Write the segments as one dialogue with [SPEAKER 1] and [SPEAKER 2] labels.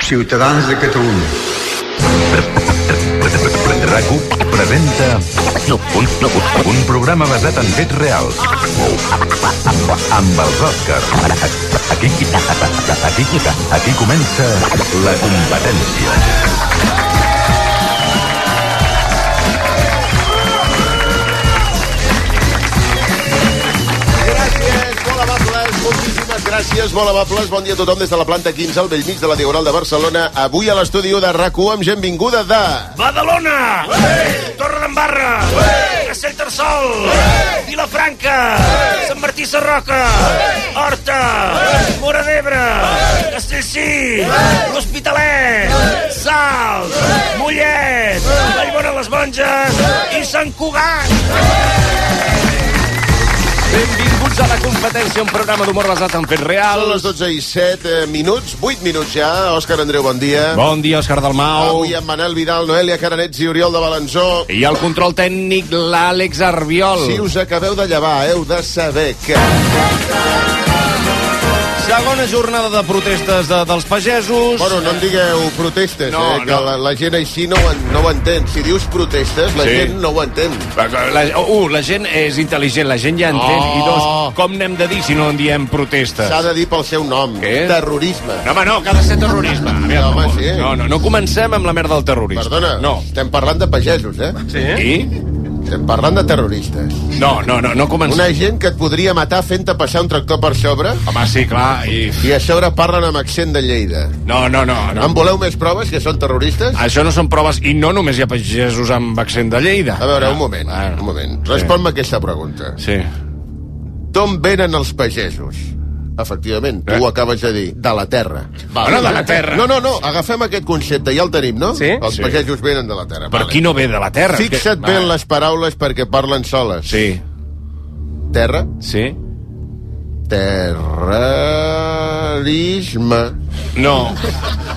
[SPEAKER 1] Ciutadans de Catalunya.
[SPEAKER 2] rac presenta no, un, no, un programa basat en fets reals amb els Oscars. Aquí, aquí, aquí comença la competència.
[SPEAKER 3] Gràcies, molt amables, moltíssimes gràcies, molt amables. Bon dia a tothom des de la planta 15 al vell mig de la Diagonal de Barcelona. Avui a l'estudi u de rac amb gent vinguda de...
[SPEAKER 4] Badalona! Ei! Torre d'Embarra! Ei! Castell Tarsol! Ei! Vilafranca! Ei! Sant Martí Sarroca! Ei! Horta! Ei! Mora d'Ebre! Ei! Castellcí! L'Hospitalet! Salt! Ei! Mollet! Ei! Vallbona les Monges! Ei! I Sant Cugat!
[SPEAKER 5] Benvinguts a la competència, un programa d'humor basat en fets
[SPEAKER 3] Són les
[SPEAKER 5] reals.
[SPEAKER 3] 12 i 7 eh, minuts, 8 minuts ja. Òscar Andreu, bon dia.
[SPEAKER 5] Bon dia, Òscar Dalmau.
[SPEAKER 3] Avui amb Manel Vidal, Noelia Caranets i Oriol de Balanzó.
[SPEAKER 5] I el control tècnic, l'Àlex Arbiol.
[SPEAKER 3] Si us acabeu de llevar, heu de saber que...
[SPEAKER 5] Segona jornada de protestes de, dels pagesos.
[SPEAKER 3] Bueno, no en digueu protestes,
[SPEAKER 5] No,
[SPEAKER 3] eh, que
[SPEAKER 5] no.
[SPEAKER 3] la, la gent així no ho, en- no ho entén. Si dius protestes, la
[SPEAKER 5] Sí.
[SPEAKER 3] gent no ho entén.
[SPEAKER 5] La, la- un, la gent és intel·ligent, la gent ja entén.
[SPEAKER 3] Oh.
[SPEAKER 5] I dos, com n'hem de dir si no en diem protestes?
[SPEAKER 3] S'ha de dir pel seu nom.
[SPEAKER 5] Què? Ah,
[SPEAKER 3] Terrorisme.
[SPEAKER 5] No, home, no, que ha de ser terrorisme. Aviam,
[SPEAKER 3] No, home,
[SPEAKER 5] no,
[SPEAKER 3] sí.
[SPEAKER 5] no, no, no comencem amb la merda del terrorisme.
[SPEAKER 3] Perdona,
[SPEAKER 5] No.
[SPEAKER 3] estem parlant de pagesos, eh?
[SPEAKER 5] Sí? I?
[SPEAKER 3] Estem parlant de terroristes.
[SPEAKER 5] No, no, no, no comencem.
[SPEAKER 3] Una gent que et podria matar fent-te passar un tractor per sobre
[SPEAKER 5] Home, sí, clar, i...
[SPEAKER 3] i a sobre parlen amb accent de Lleida.
[SPEAKER 5] No, no, no, no.
[SPEAKER 3] En voleu més proves que són terroristes?
[SPEAKER 5] Això no són proves, i no només hi ha pagesos amb accent de Lleida.
[SPEAKER 3] A veure, un moment,
[SPEAKER 5] Ah,
[SPEAKER 3] un moment. Respon-me aquesta pregunta.
[SPEAKER 5] Sí.
[SPEAKER 3] D'on venen els pagesos? Efectivament, tu
[SPEAKER 5] Eh?
[SPEAKER 3] ho acabes de dir, de la terra.
[SPEAKER 5] Bueno, de la terra.
[SPEAKER 3] No, no, no, agafem aquest concepte, ja el tenim, no?
[SPEAKER 5] Sí?
[SPEAKER 3] Els
[SPEAKER 5] Sí.
[SPEAKER 3] pagesos venen de la terra.
[SPEAKER 5] Per
[SPEAKER 3] vale.
[SPEAKER 5] qui no ve de la terra?
[SPEAKER 3] Fixa't
[SPEAKER 5] Que-
[SPEAKER 3] bé en
[SPEAKER 5] Va.
[SPEAKER 3] les paraules perquè parlen soles.
[SPEAKER 5] Sí,
[SPEAKER 3] Terra,
[SPEAKER 5] sí.
[SPEAKER 3] terrorisme.
[SPEAKER 5] No.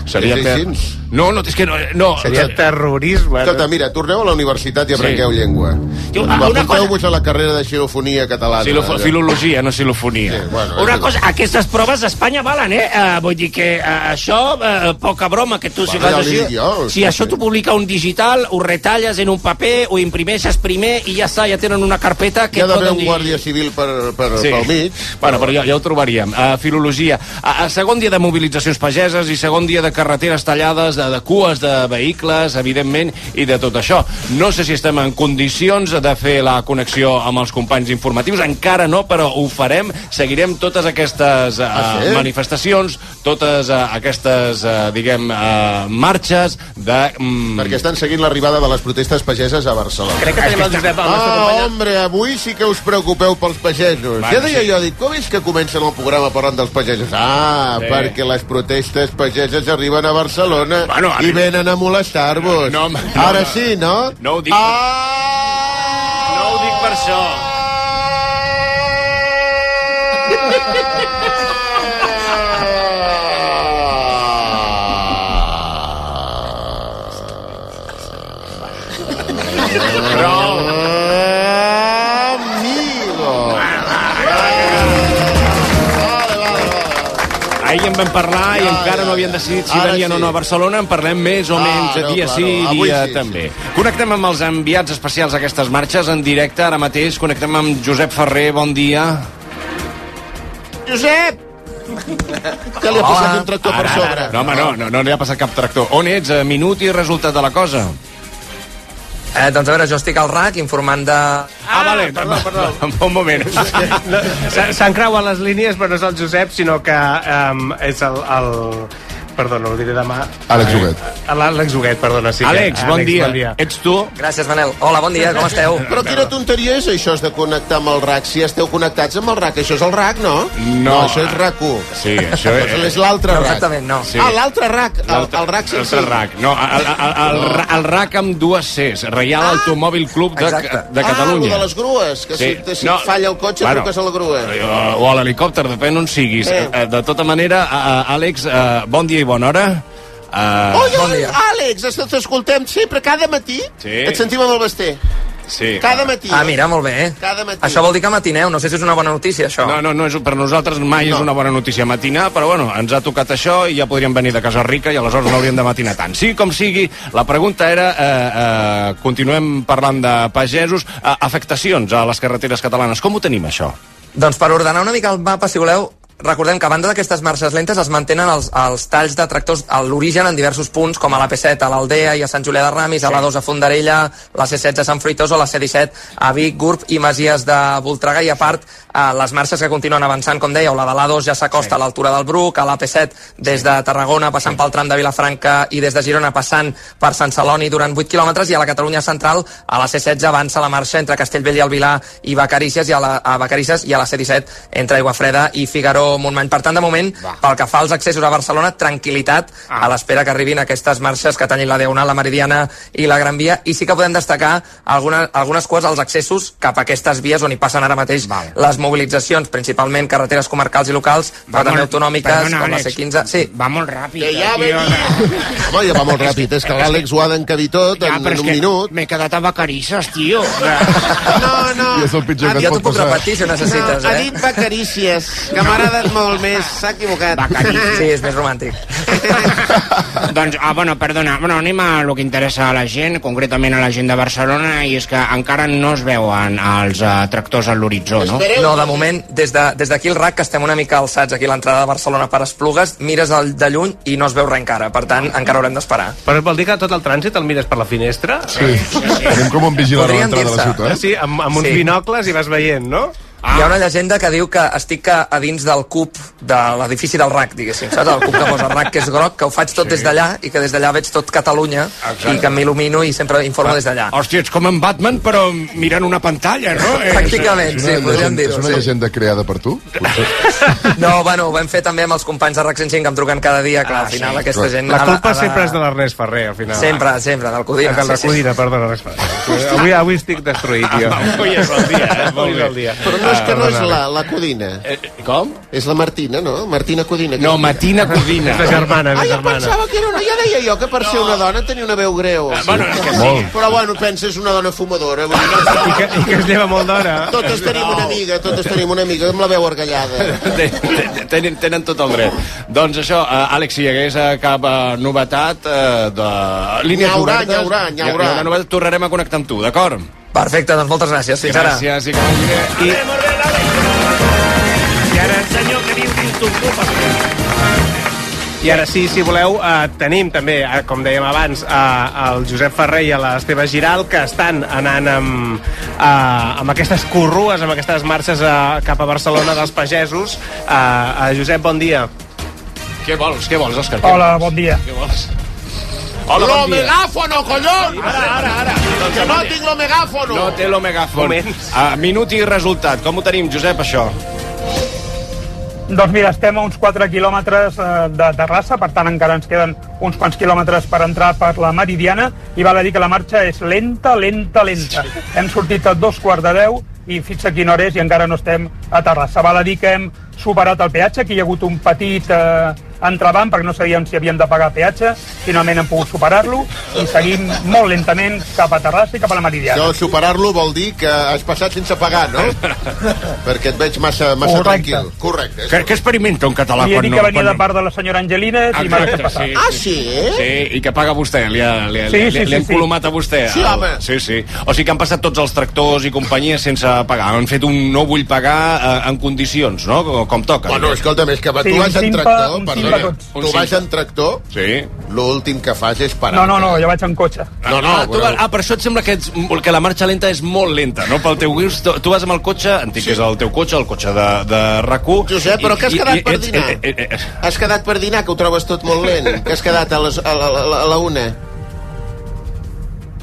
[SPEAKER 5] Seria
[SPEAKER 3] És
[SPEAKER 5] ter...
[SPEAKER 3] així.
[SPEAKER 5] No, no, és que no... no.
[SPEAKER 3] Seria
[SPEAKER 5] terrorisme.
[SPEAKER 3] Escolta, mira, torneu a la universitat i aprengueu sí. llengua.
[SPEAKER 4] Jo, ah, una
[SPEAKER 3] Apunteu-vos a la carrera de xilofonia catalana.
[SPEAKER 5] Silofo... Filologia, no
[SPEAKER 3] Sí,
[SPEAKER 5] silofonia.
[SPEAKER 3] bueno,
[SPEAKER 4] Una
[SPEAKER 3] és-
[SPEAKER 4] cosa, aquestes proves a Espanya valen, eh? Uh, vull dir que uh, això, uh, poca broma, que tu si
[SPEAKER 3] Bueno,
[SPEAKER 4] fas
[SPEAKER 3] ja li
[SPEAKER 4] així...
[SPEAKER 3] dic jo,
[SPEAKER 4] si
[SPEAKER 3] sí,
[SPEAKER 4] això
[SPEAKER 3] sí.
[SPEAKER 4] t'ho publica un digital, ho retalles en un paper, ho imprimeixes primer i ja està, ja tenen una carpeta
[SPEAKER 3] Hi
[SPEAKER 4] que
[SPEAKER 3] ha d'haver
[SPEAKER 4] poden
[SPEAKER 3] un
[SPEAKER 4] dir...
[SPEAKER 3] guàrdia civil per, per, sí. pel mig.
[SPEAKER 5] Bueno, però ja, ja ho trobaríem. Uh, filologia. Uh, uh, segon dia de mobilitzacions pageses i segon dia de carreteres tallades, de, de cues de vehicles, evidentment, i de tot això. No sé si estem en condicions de fer la connexió amb els companys informatius. Encara no, però ho farem. Seguirem totes aquestes uh,
[SPEAKER 3] Ah, sí?
[SPEAKER 5] manifestacions, totes uh, aquestes, uh, diguem, uh, marxes de... Mm,
[SPEAKER 3] Perquè estan seguint l'arribada de les protestes pageses a Barcelona. Crec que tenim el Josep, el Ah, hombre, avui sí que us preocupeu pels pagesos.
[SPEAKER 5] Va,
[SPEAKER 3] ja deia
[SPEAKER 5] sí.
[SPEAKER 3] jo, dic, com és que comencen el programa parlant dels pagesos? Ah,
[SPEAKER 5] Sí.
[SPEAKER 3] perquè les protestes pageses arriben a Barcelona
[SPEAKER 5] Bueno, a
[SPEAKER 3] i
[SPEAKER 5] mi-
[SPEAKER 3] venen a molestar-vos.
[SPEAKER 5] No, home, no,
[SPEAKER 3] Ara
[SPEAKER 5] no.
[SPEAKER 3] sí, no?
[SPEAKER 5] No ho dic per-
[SPEAKER 3] Ah!
[SPEAKER 5] No ho dic per això. Prou!
[SPEAKER 3] Amigo!
[SPEAKER 5] Ahir en vam parlar i
[SPEAKER 3] Ja,
[SPEAKER 5] encara
[SPEAKER 3] ja,
[SPEAKER 5] no havien
[SPEAKER 3] ja.
[SPEAKER 5] decidit si
[SPEAKER 3] Ara
[SPEAKER 5] venien o
[SPEAKER 3] sí.
[SPEAKER 5] no a Barcelona. En parlem més o
[SPEAKER 3] Ah,
[SPEAKER 5] menys
[SPEAKER 3] no,
[SPEAKER 5] dia
[SPEAKER 3] claro.
[SPEAKER 5] sí,
[SPEAKER 3] Avui
[SPEAKER 5] dia
[SPEAKER 3] sí,
[SPEAKER 5] també. Connectem amb els enviats especials a aquestes marxes en directe. Ara mateix connectem amb Josep Ferrer. Bon dia.
[SPEAKER 4] Josep!
[SPEAKER 3] Que li ha passat un tractor per
[SPEAKER 5] Ara, ara,
[SPEAKER 3] sobre.
[SPEAKER 5] ara. No, home, no, no, no li ha passat cap tractor. On ets? A minut i resultat de la cosa.
[SPEAKER 6] Eh, doncs a veure, jo estic al RAC informant de...
[SPEAKER 5] Ah, vale. Perdó, perdó. Un moment.
[SPEAKER 7] S- S'han creuat les línies, però no és el Josep, sinó que um, és el, el... Perdona, ho diré demà.
[SPEAKER 3] Àlex Huguet.
[SPEAKER 7] L'Àlex Huguet, perdona. Sí, que-
[SPEAKER 5] Àlex, bon
[SPEAKER 7] Àlex,
[SPEAKER 5] dia. Ets tu?
[SPEAKER 6] Gràcies, Manel. Hola, bon dia, com esteu?
[SPEAKER 3] Però quina tonteria és això és de connectar amb el RAC? Si esteu connectats amb el RAC, això és el RAC, no?
[SPEAKER 5] No.
[SPEAKER 3] això és RAC1.
[SPEAKER 5] Sí, això és...
[SPEAKER 3] Això és l'altre
[SPEAKER 6] No,
[SPEAKER 3] RAC.
[SPEAKER 6] exactament, no.
[SPEAKER 5] Sí.
[SPEAKER 3] Ah, l'altre RAC, el, el RAC
[SPEAKER 5] El,
[SPEAKER 3] sencer.
[SPEAKER 5] RAC. No, el, el, el, el, el RAC amb dues Cs. Reial Automòbil Club de,
[SPEAKER 6] Exacte.
[SPEAKER 5] de Catalunya.
[SPEAKER 3] Ah, el de les grues, que sí. si, si no. falla el cotxe, bueno. truques a la grua.
[SPEAKER 5] eh, O a l'helicòpter, depèn on siguis.
[SPEAKER 3] Eh.
[SPEAKER 5] Eh, De tota manera, eh, Àlex, eh, bon dia i bona hora. Eh,
[SPEAKER 3] Oi,
[SPEAKER 6] Bon
[SPEAKER 3] oi,
[SPEAKER 6] dia.
[SPEAKER 3] Àlex, es- t'escoltem sempre, cada matí.
[SPEAKER 5] Sí.
[SPEAKER 3] Et sentim amb el Basté.
[SPEAKER 5] Sí.
[SPEAKER 3] Cada matí.
[SPEAKER 6] Ah, mira, molt bé.
[SPEAKER 3] Cada matí.
[SPEAKER 6] Això vol dir que matineu, no sé si és una bona notícia, això.
[SPEAKER 5] No, no, no és, per nosaltres mai no. és una bona notícia matinar, però bueno, ens ha tocat això i ja podríem venir de Casa Rica i aleshores no hauríem de matinar tant. Sí, com sigui, la pregunta era, eh, eh, continuem parlant de pagesos, eh, afectacions a les carreteres catalanes. Com ho tenim, això?
[SPEAKER 6] Doncs per ordenar una mica el mapa, si voleu, recordem que a banda d'aquestes marxes lentes es mantenen els, els talls de tractors a l'origen en diversos punts, com a la P7 a l'Aldea i a Sant Julià de Ramis, a la 2 a Fondarella, la C16 a Sant Fruitós o la C17 a Vic, Gurb i Masies de Voltregà, i a part eh, les marxes que continuen avançant, com dèieu, la de la 2 ja s'acosta a l'altura del Bruc, a la P7 des de Tarragona, passant pel tram de Vilafranca i des de Girona passant per Sant Celoni durant 8 quilòmetres, i a la Catalunya Central a la C16 avança la marxa entre Castellvell i el Vilar i Vacarisses i a la, a Vacarisses i a la C17 entre Aiguafreda i Figaró-Montmany. Per tant, de moment, pel que fa als accessos a Barcelona, tranquil·litat
[SPEAKER 8] Ah.
[SPEAKER 6] a l'espera que arribin aquestes marxes que tallin la Diagonal, la Meridiana i la Gran Via, i sí que podem destacar alguna, algunes coses als accessos cap a aquestes vies on hi passen ara mateix
[SPEAKER 8] Val.
[SPEAKER 6] les mobilitzacions, principalment carreteres comarcals i locals, però també autonòmiques,
[SPEAKER 8] Perdona,
[SPEAKER 6] com la
[SPEAKER 8] Àlex,
[SPEAKER 6] C15... Sí,
[SPEAKER 8] Va molt ràpid.
[SPEAKER 3] Que ja
[SPEAKER 8] tio.
[SPEAKER 3] venia. Home, ja va molt ràpid. És que l'Àlex ho ha d'encabir tot
[SPEAKER 8] Ja,
[SPEAKER 3] en
[SPEAKER 8] però és
[SPEAKER 3] un
[SPEAKER 8] que
[SPEAKER 3] minut.
[SPEAKER 8] M'he quedat a vacarisses, tio. No, no.
[SPEAKER 4] Ah,
[SPEAKER 9] I és el
[SPEAKER 3] Ah,
[SPEAKER 9] pitjor que et
[SPEAKER 6] jo t'ho
[SPEAKER 9] pot
[SPEAKER 6] puc
[SPEAKER 9] passar.
[SPEAKER 6] repetir si ho necessites,
[SPEAKER 10] ha
[SPEAKER 6] eh?
[SPEAKER 10] dit Vacarícies, que m'ha agradat molt més. S'ha equivocat.
[SPEAKER 6] Sí, és més romàntic.
[SPEAKER 8] doncs, ah, bueno, perdona. Bueno, anem a lo que interessa a la gent, concretament a la gent de Barcelona, i és que encara no es veuen els uh, tractors a l'horitzó, no?
[SPEAKER 6] No, de moment, des de- des d'aquí de, el RAC, que estem una mica alçats aquí a l'entrada de Barcelona per Esplugues, mires el de lluny i no es veu res encara. Per tant, encara haurem d'esperar.
[SPEAKER 7] Però vol dir que tot el trànsit el mires per la finestra? Ah,
[SPEAKER 9] Sí. Anem com un vigilant a
[SPEAKER 6] Podríem
[SPEAKER 9] l'entrada de la
[SPEAKER 6] dir-se.
[SPEAKER 9] ciutat. eh?
[SPEAKER 7] Sí, amb, amb uns
[SPEAKER 6] Sí.
[SPEAKER 7] sí. binocles i vas veient, no?
[SPEAKER 6] Ah. Hi ha una llegenda que diu que estic a, a dins del cub de l'edifici del RAC, diguéssim, saps? El cub que posa RAC, que és groc, que ho faig tot sí. des d'allà i que des d'allà veig tot Catalunya Exacte. i que m'il·lumino i sempre informo des d'allà.
[SPEAKER 5] Hòstia, ets com en Batman, però mirant una pantalla, no?
[SPEAKER 6] Pràcticament,
[SPEAKER 9] És
[SPEAKER 6] sí,
[SPEAKER 9] una
[SPEAKER 6] podríem
[SPEAKER 9] llegenda, és
[SPEAKER 6] dir-ho.
[SPEAKER 9] una
[SPEAKER 6] sí.
[SPEAKER 9] llegenda creada per tu?
[SPEAKER 6] No, bueno, ho vam fer també amb els companys de RAC 105 que em truquen cada dia, clar, al final aquesta gent...
[SPEAKER 7] La
[SPEAKER 6] ha de-
[SPEAKER 7] culpa
[SPEAKER 6] ha de-
[SPEAKER 7] sempre és de l'Ernest Ferrer, al final.
[SPEAKER 6] Sempre, sempre, del Codina.
[SPEAKER 7] De la
[SPEAKER 6] sí, sí.
[SPEAKER 7] Codina, perdona, Ernest Ferrer. Avui, avui estic destruït, jo.
[SPEAKER 5] Avui és el dia, Ah, eh? Molt
[SPEAKER 7] Avui és
[SPEAKER 5] bé.
[SPEAKER 7] el dia. Ah,
[SPEAKER 3] Però no és que no és la, la Codina.
[SPEAKER 5] eh, Com?
[SPEAKER 3] És la Martina, no? Martina Codina. que
[SPEAKER 5] No,
[SPEAKER 3] és-
[SPEAKER 5] Matina Codina.
[SPEAKER 7] És la germana, és
[SPEAKER 3] Ai,
[SPEAKER 7] la
[SPEAKER 3] jo
[SPEAKER 7] germana.
[SPEAKER 3] pensava que era una... Ja deia jo que per ser una dona tenia una veu greu.
[SPEAKER 5] Ah, bueno, és que sí.
[SPEAKER 9] Molt.
[SPEAKER 3] Però bueno, pensa, és una dona fumadora. Vull dir, no,
[SPEAKER 7] I que, I que es lleva molt d'hora.
[SPEAKER 3] totes tenim una amiga, totes tenim una amiga amb la veu argallada.
[SPEAKER 5] Ten- tenen, tenen tot el dret. Doncs això, eh, Àlex, si hi hagués eh, cap eh, novetat eh, de línies
[SPEAKER 3] N'hi haurà,
[SPEAKER 5] obertes...
[SPEAKER 3] n'hi haurà, n'hi haurà.
[SPEAKER 5] Hi haurà novetat, tornarem a connectar amb tu, d'acord?
[SPEAKER 6] Perfecte, doncs moltes gràcies. Fins ara.
[SPEAKER 5] Gràcies i que vagi bé.
[SPEAKER 4] I... Molt bé, l'Àlex. I ara el senyor que viu dins d'un club. eh?
[SPEAKER 7] I ara sí, si voleu, eh, tenim també, eh, com dèiem abans, eh, el Josep Ferrer i l'Esteve Giral, que estan anant amb, eh, amb aquestes corrues, amb aquestes marxes eh, cap a Barcelona dels pagesos. Eh, eh, Josep, bon dia.
[SPEAKER 5] Què vols, què vols, Òscar?
[SPEAKER 11] Hola, bon dia.
[SPEAKER 5] Què vols? Hola, bon dia.
[SPEAKER 3] megáfono, collons! Ara, ara, ara. Que no tinc lo megáfono.
[SPEAKER 5] No té l'omegàfon.
[SPEAKER 7] Moment.
[SPEAKER 5] Uh, minut i resultat. Com ho tenim, Josep, això?
[SPEAKER 11] Doncs mira, estem a uns 4 quilòmetres eh, de Terrassa, per tant encara ens queden uns quants quilòmetres per entrar per la Meridiana i val a dir que la marxa és lenta, lenta, lenta. Hem sortit a dos quarts de 10 i fins a quina hora és i encara no estem a Terrassa. Val a dir que hem superat el peatge, que hi ha hagut un petit eh, entrebanc perquè no sabíem si havíem de pagar peatge, finalment hem pogut superar-lo i seguim molt lentament cap a Terrassa i cap a la Meridiana.
[SPEAKER 3] No, superar-lo vol dir que has passat sense pagar, no? Perquè et veig massa, massa
[SPEAKER 11] Correcte.
[SPEAKER 3] tranquil. Correcte.
[SPEAKER 5] Què, què experimenta un català
[SPEAKER 11] Li he
[SPEAKER 5] quan
[SPEAKER 11] dit
[SPEAKER 5] no...
[SPEAKER 11] que venia
[SPEAKER 5] quan
[SPEAKER 11] de part de la senyora Angelina i m'ha deixat passar.
[SPEAKER 3] Ah, sí?
[SPEAKER 5] Sí, i que paga vostè, li, ha, li, ha-
[SPEAKER 11] Sí,
[SPEAKER 5] li, li,
[SPEAKER 11] sí, sí,
[SPEAKER 5] han
[SPEAKER 11] sí.
[SPEAKER 5] colomat a vostè.
[SPEAKER 3] Sí,
[SPEAKER 5] El-
[SPEAKER 3] home.
[SPEAKER 5] Sí, sí. O sigui que han passat tots els tractors i companyies sense pagar. Han fet un no vull pagar eh, en condicions, no? Com, com toca.
[SPEAKER 3] Bueno, escolta, més que va-
[SPEAKER 11] Sí,
[SPEAKER 3] tu
[SPEAKER 11] un
[SPEAKER 3] vas en
[SPEAKER 11] simpa-
[SPEAKER 3] tractor,
[SPEAKER 11] un
[SPEAKER 3] perdona,
[SPEAKER 11] simpa tots.
[SPEAKER 5] Un
[SPEAKER 3] tu vas
[SPEAKER 5] simpa.
[SPEAKER 3] en tractor,
[SPEAKER 5] Sí.
[SPEAKER 3] l'últim que fas és parar.
[SPEAKER 11] No, no, no, jo vaig en cotxe.
[SPEAKER 3] No, no,
[SPEAKER 5] ah, tu,
[SPEAKER 3] bueno.
[SPEAKER 5] vas- ah, per això et sembla que, ets, que la marxa lenta és molt lenta, no? Pel teu gust, tu, tu vas amb el cotxe, entenc sí. que és el teu cotxe, el cotxe de, de RAC1...
[SPEAKER 3] Josep, però
[SPEAKER 5] i-
[SPEAKER 3] que has
[SPEAKER 5] i-
[SPEAKER 3] quedat
[SPEAKER 5] i
[SPEAKER 3] per
[SPEAKER 5] ets-
[SPEAKER 3] dinar?
[SPEAKER 5] eh, eh, eh,
[SPEAKER 3] Has quedat per dinar, que ho trobes tot molt lent, que has quedat a, les, a, la, a la- a la una.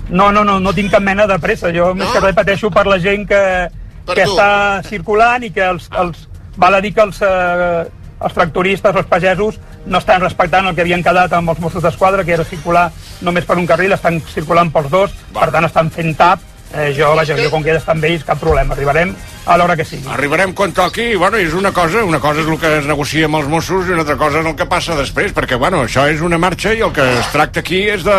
[SPEAKER 11] No, no, no, no tinc cap mena de pressa. Jo no? més que res pateixo per la gent que,
[SPEAKER 3] Per
[SPEAKER 11] que
[SPEAKER 3] tu. Ah.
[SPEAKER 11] està circulant i que els, els, val a dir que els, eh, els tractoristes, els pagesos, no estan respectant el que havien quedat amb els Mossos d'Esquadra, que era circular només per un carril, estan circulant pels dos, per tant estan fent tap. Eh, jo, vaja, jo com que he d'estar amb ells, cap problema. Arribarem a l'hora que sigui.
[SPEAKER 5] Arribarem quan toqui, i, bueno, és una cosa, una cosa és el que es negocia amb els Mossos i una altra cosa és el que passa després, perquè, bueno, això és una marxa i el que es tracta aquí és de...